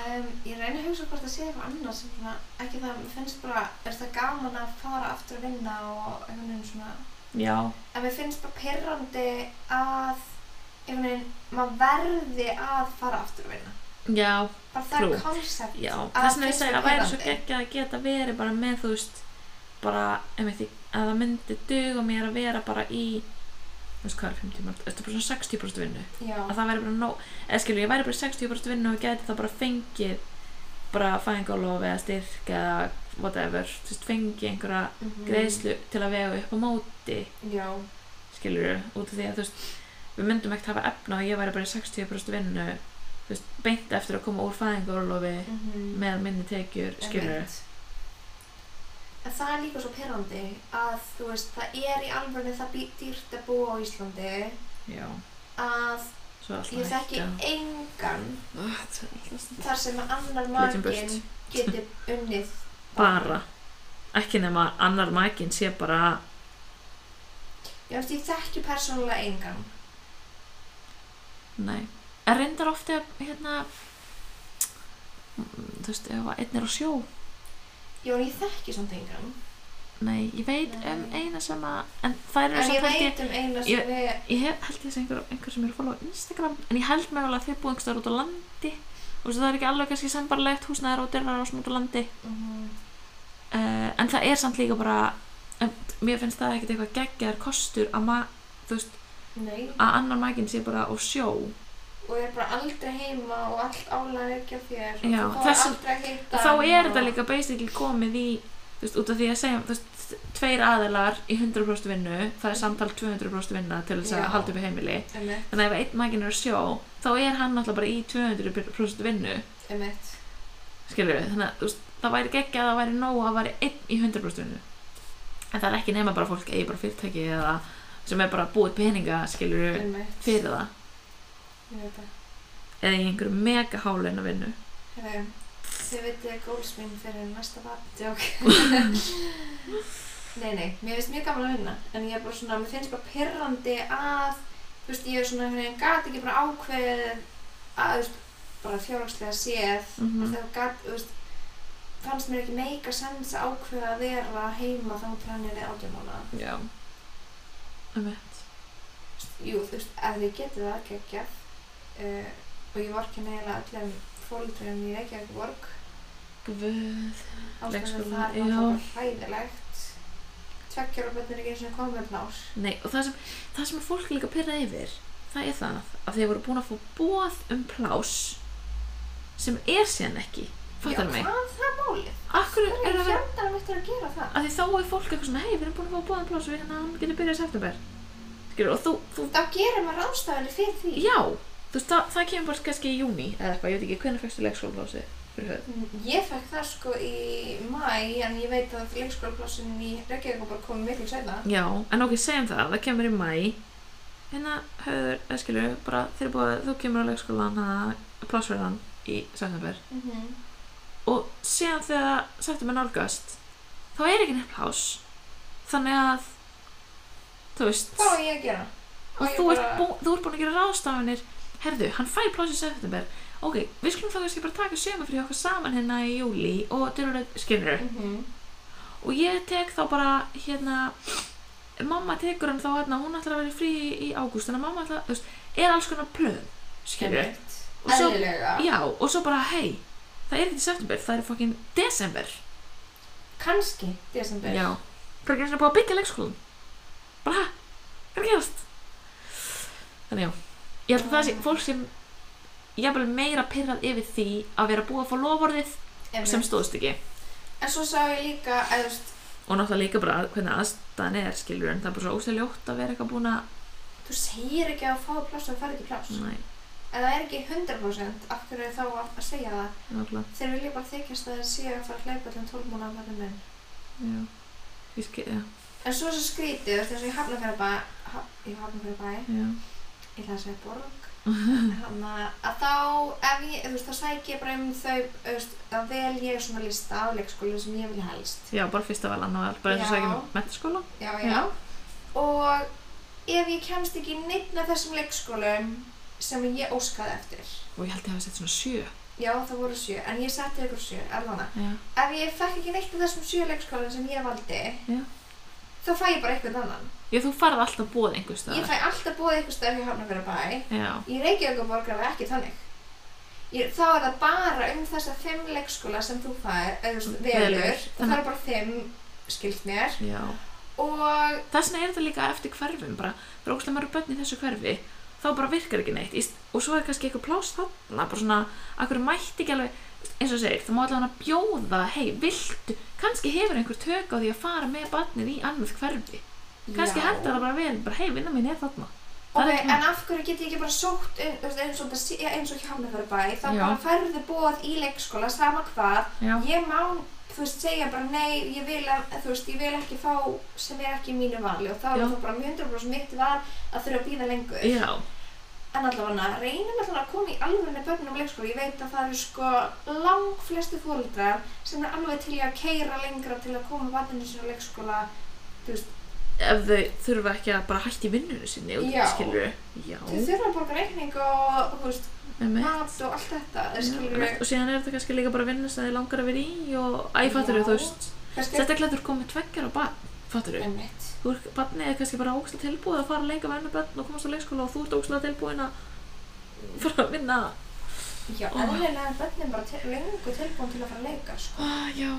Speaker 1: Um, ég reyni að hugsa hvort það sé eitthvað annað sem svona, ekki það, mér finnst bara, er það gaman að fara aftur að vinna og einhvern veginn svona,
Speaker 2: já,
Speaker 1: en mér finnst bara pirrandi að einhvern veginn, maður verði að fara aftur að vinna.
Speaker 2: já,
Speaker 1: Bara það
Speaker 2: Trú.
Speaker 1: er koncept.
Speaker 2: já það sem ég segja að væri svo geggja að geta verið bara með þú veist bara, einmitt, í- að það myndi duga mér að vera bara í þú veist hvað er 50 mörg, þetta er bara svona 60% vinnu
Speaker 1: Já,
Speaker 2: að það væri bara nóg eða skilur, ég væri bara í 60% vinnu og gæti það bara fengið bara fæðingálof eða styrk eða whatever, þú veist, fengið einhverja
Speaker 1: mhm.
Speaker 2: greiðslu til að vega upp á móti
Speaker 1: Já,
Speaker 2: skilur, út af því að þú veist við myndum ekkert hafa efna og ég væri bara í 60% vinnu, þú veist, beint eftir að koma úr fæðingálofi
Speaker 1: mhm.
Speaker 2: með minni tekjur, skilur
Speaker 1: Einmitt. En það er líka svo perrandi að þú veist, það er í alvörni það bý- dýrt að búa á Íslandi
Speaker 2: já,
Speaker 1: að ég
Speaker 2: svo er alltaf
Speaker 1: þekki
Speaker 2: hækka.
Speaker 1: engan
Speaker 2: Ah, þetta er alltaf hækka
Speaker 1: þar sem að annar
Speaker 2: Flytjum
Speaker 1: makinn
Speaker 2: burt.
Speaker 1: geti unnið
Speaker 2: bara, ekki nema annar mækin sé bara
Speaker 1: Já, veist, ég þekki persónulega engan
Speaker 2: Nei, en reyndar ofti hérna mm, þú veist, ef að einn er á sjó
Speaker 1: Já, en ég þekki samt engan
Speaker 2: Nei, ég veit
Speaker 1: Nei.
Speaker 2: um eina sem að en það
Speaker 1: En
Speaker 2: eru
Speaker 1: ég
Speaker 2: samt held ég
Speaker 1: veit um eina sem
Speaker 2: ég-
Speaker 1: við
Speaker 2: ég hef held ég sem einhver, einhver sem eru að follow á Instagram en ég held mögulega að þið búið einhver stöður út á landi og það er ekki alveg kannski sambarlegt húsnæður og dyrnar og svona út á landi
Speaker 1: Mhm,
Speaker 2: uh, en það er samt líka bara en, mér finnst það ekkert eitthvað geggjar kostur að, ma, þú veist,
Speaker 1: Nei,
Speaker 2: að annar mækinn sé bara á sjó
Speaker 1: og er bara aldrei heima og allt álega ekki á þér og
Speaker 2: Já,
Speaker 1: þú fáir
Speaker 2: þessum-
Speaker 1: aldrei að hitta
Speaker 2: þá
Speaker 1: hann
Speaker 2: er
Speaker 1: og-
Speaker 2: þetta líka basically komið í þú veist, út af því að segja þú veist, tveir aðilar í 100% vinnu það er samtal 200% vinna til þess að
Speaker 1: Já.
Speaker 2: halda upp í heimili
Speaker 1: Einmitt,
Speaker 2: þannig að ef einn maginn er að sjó þá er hann náttúrulega bara í 200% vinnu
Speaker 1: einmitt
Speaker 2: skilur við, þannig að þú veist, það væri geggja að það væri nóg að væri einn í 100% vinnu en það er ekki nema bara fólk eigi bara fyrirtæki eða sem er bara búið peninga skilur við
Speaker 1: Einmitt
Speaker 2: fyrir það
Speaker 1: Ég veit það
Speaker 2: eða í einhverju mega háleina vinnu
Speaker 1: Heyrðu, Þið vitið góls mín fyrir næsta vatntjók Nei, nei, mér finnst mjög gaman að vinna en ég er bara svona, mér finnst bara pirrandi að þú veist, ég er svona, hvernig, gat ekki bara ákveðið að, þú veist, bara fjárhagslega séð
Speaker 2: Mhm.
Speaker 1: mm. það gat, þú veist fannst mér ekki meika sens að ákveða að vera heima þá til hann er í átjámána
Speaker 2: já um eitt
Speaker 1: Jú, þú veist, ef þið getið það ekki ekki uh, og ég var ekki neila öllum fólitrunum í Reykjavík borg
Speaker 2: Guð
Speaker 1: ástæðan það
Speaker 2: Leikskóla, já.
Speaker 1: er náttúrulega hræðilegt tveggjar og börn er ekki eins og komið með nár
Speaker 2: Nei, og það sem, það sem fólk er líka pyrra yfir, það er það að þeir voru búin að fá bóð um plás sem er síðan ekki. Fattar mig?
Speaker 1: hvað er það málið?
Speaker 2: Akkur
Speaker 1: það
Speaker 2: er
Speaker 1: er
Speaker 2: það
Speaker 1: fjöndanum eftir að gera það
Speaker 2: að því þá er fólk eitthvað svona, hei, við erum búin að fá bóð um plás og við hérna, hann getur byrjað í september. Skilur, og þú, þú,
Speaker 1: þá gerir maður ástæðanir fyrir því
Speaker 2: já, þú veist, það, það kemur bara kannski í júni eða eitthvað, ég veit ekki, hvenær fyrstu leikskólaplásið fyrir höfð?
Speaker 1: Mm, ég fekk það sko í mæ en ég veit að leikskólaplásin í Reykjavík var bara komið miklu sæna
Speaker 2: Já, en ok, segjum það, það kemur í mæ, hérna höfður, eða skilur, bara þeir búið, þú kemur á leikskólan, hana, plásverðan í september.
Speaker 1: mm
Speaker 2: Mhm.
Speaker 1: -hmm.
Speaker 2: og síðan þegar september nálgast þá er ekki neitt plás þannig að þú veist
Speaker 1: hvað á ég að gera? Á
Speaker 2: og
Speaker 1: ég
Speaker 2: þú ert,
Speaker 1: bara-
Speaker 2: bú, þú ert búin að gera ráðstafanir herðu, hann fær plás í september ok, við skulum þá kannski bara taka sömu fyrir okkar saman hérna í júli og dyrur að skinnur
Speaker 1: Mhm.
Speaker 2: og ég tek þá bara hérna mamma tekur hann þá hérna hún ætlar að vera í frí í- í ágúst þannig að mamma ætlar, þú veist, er alls konar plön skinnur
Speaker 1: Einmitt.
Speaker 2: Og svo-
Speaker 1: eðlilega
Speaker 2: já, og svo bara, hei, það er ekki september það er fokkin desember
Speaker 1: kannski desember
Speaker 2: Já. Það er ekki eins og búið að byggja leikskólan. Bara, hæ? Hvað er að gerast? Þannig já. Ég held að það sé fólk sem jafnvel meira pirrað yfir því að vera búið að fá loforðið
Speaker 1: Einmitt.
Speaker 2: sem stóðst ekki.
Speaker 1: en svo sá ég líka að þú veist,
Speaker 2: Og náttúrulega líka bara að- hvernig aðstæðan er, skilur, en það er bara svo ósæljótt að vera eitthvað búin að...
Speaker 1: þú segir ekki að fá pláss og fara ekki pláss
Speaker 2: Nei,
Speaker 1: ef það er ekki 100% af hverju er þá að að segja það
Speaker 2: náttúrulega,
Speaker 1: þeir vilja bara þykjast að þeir séu að fara að hlaupa til 12 múnar að verða minn
Speaker 2: já. Ég skil, já,
Speaker 1: um en svo er svo skrítið, þú veist eins og ég hafna fyrir bæ ha, ég hafna fyrir bæ,
Speaker 2: já.
Speaker 1: ég ætla að segja borg hann að þá ef ég, þú veist, þá sæk ég bara um þau, þú veist, þá vel ég svona lista á leikskólu sem ég vil helst
Speaker 2: Já, bara fyrsta vel, annar vel, bara eins og
Speaker 1: Já.
Speaker 2: sækja um metaskóla.
Speaker 1: já, já,
Speaker 2: Já.
Speaker 1: og ef ég kemst ekki í neitt af þessum leikskólum sem ég óskaði eftir
Speaker 2: Og ég held ég hafi sett svona sjö.
Speaker 1: já, það voru sjö, en ég setti ykkur sjö allan
Speaker 2: Já.
Speaker 1: ef ég fekk ekki neitt af þessum sjö leikskólum sem ég valdi
Speaker 2: Já.
Speaker 1: þá fæ ég bara eitthvað annan
Speaker 2: Já, þú farð alltaf bóð einhvers
Speaker 1: ég
Speaker 2: staðar.
Speaker 1: fæ alltaf bóðið eitthvað stöð hjá hann að vera bæ
Speaker 2: Já.
Speaker 1: Í Reykjavíkuborg er það ekki þannig. Ég, þá er það bara um þessa fimm leikskóla sem þú fær, eða þú veist,
Speaker 2: Velur.
Speaker 1: velur. Það
Speaker 2: Þannig-
Speaker 1: er bara fimm, skilt mér.
Speaker 2: Já.
Speaker 1: Og,
Speaker 2: Þess vegna er þetta líka eftir hverfum bara. Það er ógstlega mörg börn í þessu hverfi. Þá bara virkar ekki neitt. Í st- Og svo er kannski eitthvað pláss þarna. Bara svona, akkur mætti ekki alveg, eins og þú segir, það má allavega bjóða, hei, viltu, kannski hefur einhver tök á því að fara með barnið í annað hverfi. Kannski
Speaker 1: Já.
Speaker 2: hendur það bara vel, bara hei, vinna mín er þarna. Það
Speaker 1: ok,
Speaker 2: er ekki
Speaker 1: en af hverju get ég ekki bara sótt um, þú veist, eins og, það sé- eins og Hjálmafjörðabæ, þá
Speaker 2: Já.
Speaker 1: bara færðu bóð í leikskóla, sama hvað.
Speaker 2: Já.
Speaker 1: Ég má, þú veist, segja bara nei, ég vil, að, þú veist, ég vil ekki fá sem er ekki í mínu vali og þá er
Speaker 2: Já.
Speaker 1: það bara 100% mitt val að þurfa að býða lengur.
Speaker 2: Já.
Speaker 1: En allavega, reynum allavega að koma í alvegni börnum á leikskóla. Ég veit að það eru sko lang flestu fóreldrar sem er alveg til í að keira lengra til að koma barninu sér á leikskóla.
Speaker 2: ef þau þurfa ekki að bara hætti vinnunni sinni og
Speaker 1: Já.
Speaker 2: skilur já,
Speaker 1: Þau þurfa að borga reikning og, þú veist,
Speaker 2: emmi
Speaker 1: mat og allt þetta. Þau skilur
Speaker 2: og síðan er þetta kannski líka bara vinna sem þið langar að vera í og æ, fattur
Speaker 1: Já.
Speaker 2: þú veist
Speaker 1: kannski
Speaker 2: sérstaklega þú er komið tveggjar á barn fattur þú,
Speaker 1: einmitt.
Speaker 2: þú er barnið er kannski bara ógstlega tilbúið að fara að leika vennu börn og komast á leikskóla og þú ert ógstlega tilbúin að fara að vinna
Speaker 1: Já,
Speaker 2: Ó.
Speaker 1: eðlilega er börnin bara til, lengu tilbúin til að fara að leika, sko.
Speaker 2: ah, já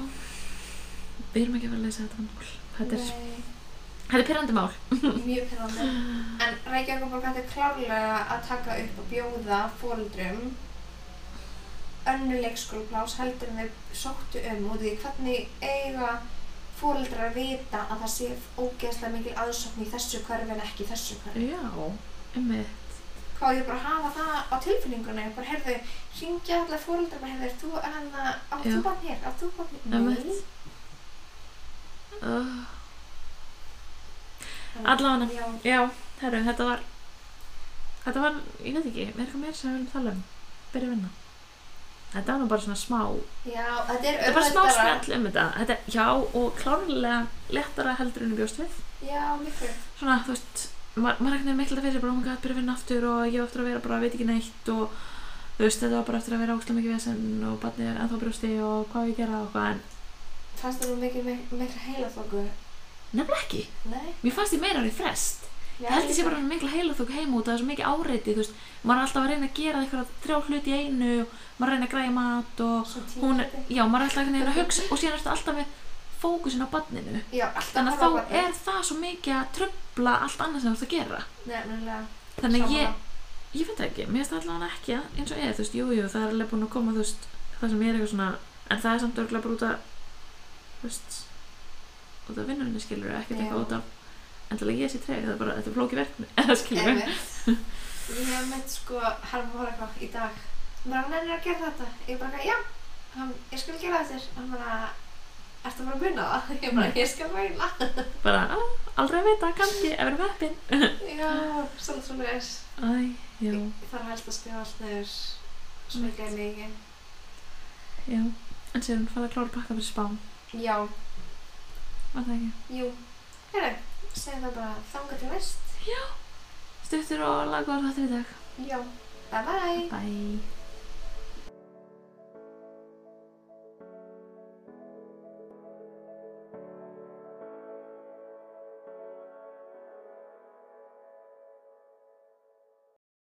Speaker 2: við erum ekki að vera að leysa þetta vandamál þetta er,
Speaker 1: Nei,
Speaker 2: þetta er pyrrandi mál
Speaker 1: mjög pennandi. En Reykjavíkuborg ætti klárlega að taka upp og bjóða fóreldrum önnu leikskólaplás heldur en þau sóttu um út af því hvernig eiga fóreldrar að vita að það sé ógeðslega mikil aðsókn í þessu hverfi en ekki í þessu hverfi.
Speaker 2: já, emmi
Speaker 1: Hvað á ég bara að hafa það á tilfinningunni? Bara heyrðu, syngja allar fóreldrar, bara heyrðu, þú er hann að, á þú
Speaker 2: Já.
Speaker 1: bann hér, á þú bann hér.
Speaker 2: Einmitt. uh, Allavega.
Speaker 1: Já,
Speaker 2: Já, herru, þetta var þetta var, ég veit ekki, er eitthvað meira sem við viljum tala um byrja að vinna þetta var nú bara svona smá þetta
Speaker 1: já, þetta er
Speaker 2: er bara smá
Speaker 1: auðveldara.
Speaker 2: spjall um þetta, þetta já, og klárlega lettara heldur en við bjóst við
Speaker 1: Já, miklu.
Speaker 2: svona, þú veist, ma maður ekkert miklu að fyrir sér bara, hún gæti byrja að vinna aftur og ég á eftir að vera bara, veit ekki neitt og þú veist, þetta var bara eftir að vera óslega mikið vesen og barnið er ennþá brjósti og hvað á ég að gera og hvað en
Speaker 1: Fannst það nú mikil, mikil heila þóku?
Speaker 2: nefnilega ekki,
Speaker 1: Nei?
Speaker 2: mér fannst ég meira árið frest Ég held ég sé bara svona mikla heila þók heim út að það er svo mikið áreiti, þú veist, maður er alltaf að reyna að gera eitthvað þrjá hluti í einu, maður er að reyna að græja mat og
Speaker 1: Svo tíma
Speaker 2: hún er,
Speaker 1: þetta.
Speaker 2: já, maður er alltaf einhvern veginn að hugsa og síðan ertu alltaf með fókusin á barninu.
Speaker 1: Já, alltaf
Speaker 2: Þannig
Speaker 1: horfa
Speaker 2: að
Speaker 1: á
Speaker 2: þá er það svo mikið að tröfla allt annað sem þú ert að gera.
Speaker 1: Nefnilega.
Speaker 2: Þannig að
Speaker 1: Sammála.
Speaker 2: ég, ég veit það ekki, mér finnst það allavega ekki að- eins og er, þú veist, jú, jú, það er alveg búin að koma, þú veist, það sem er eitthvað svona, en það er samt örgulega bara út að, þú veist, út af vinnunni skilur, ekkert
Speaker 1: Já.
Speaker 2: eitthvað út af, endalega ég sé treg, það er bara, þetta er flóki verkni, eða skilur,
Speaker 1: Einmitt. Ég hef mitt sko Herma var eitthvað í dag bara hann er að gera þetta ég bara eitthvað, já, hann, ég skal gera þetta þér." hann bara ertu bara að muna það ég bara ég skal mæla
Speaker 2: bara "Á, aldrei að vita, kannski, ef við erum heppin
Speaker 1: já, svolítið svona þess
Speaker 2: Æ, já,
Speaker 1: ég þarf helst að skrifa allt neður svo ekki að neyja
Speaker 2: já en sér hún farið að klára pakka fyrir spán
Speaker 1: já,
Speaker 2: var það ekki,
Speaker 1: jú, hérna segðu það bara þangað til næst
Speaker 2: stuttur og lagur þetta í dag
Speaker 1: já, bye bye
Speaker 2: bye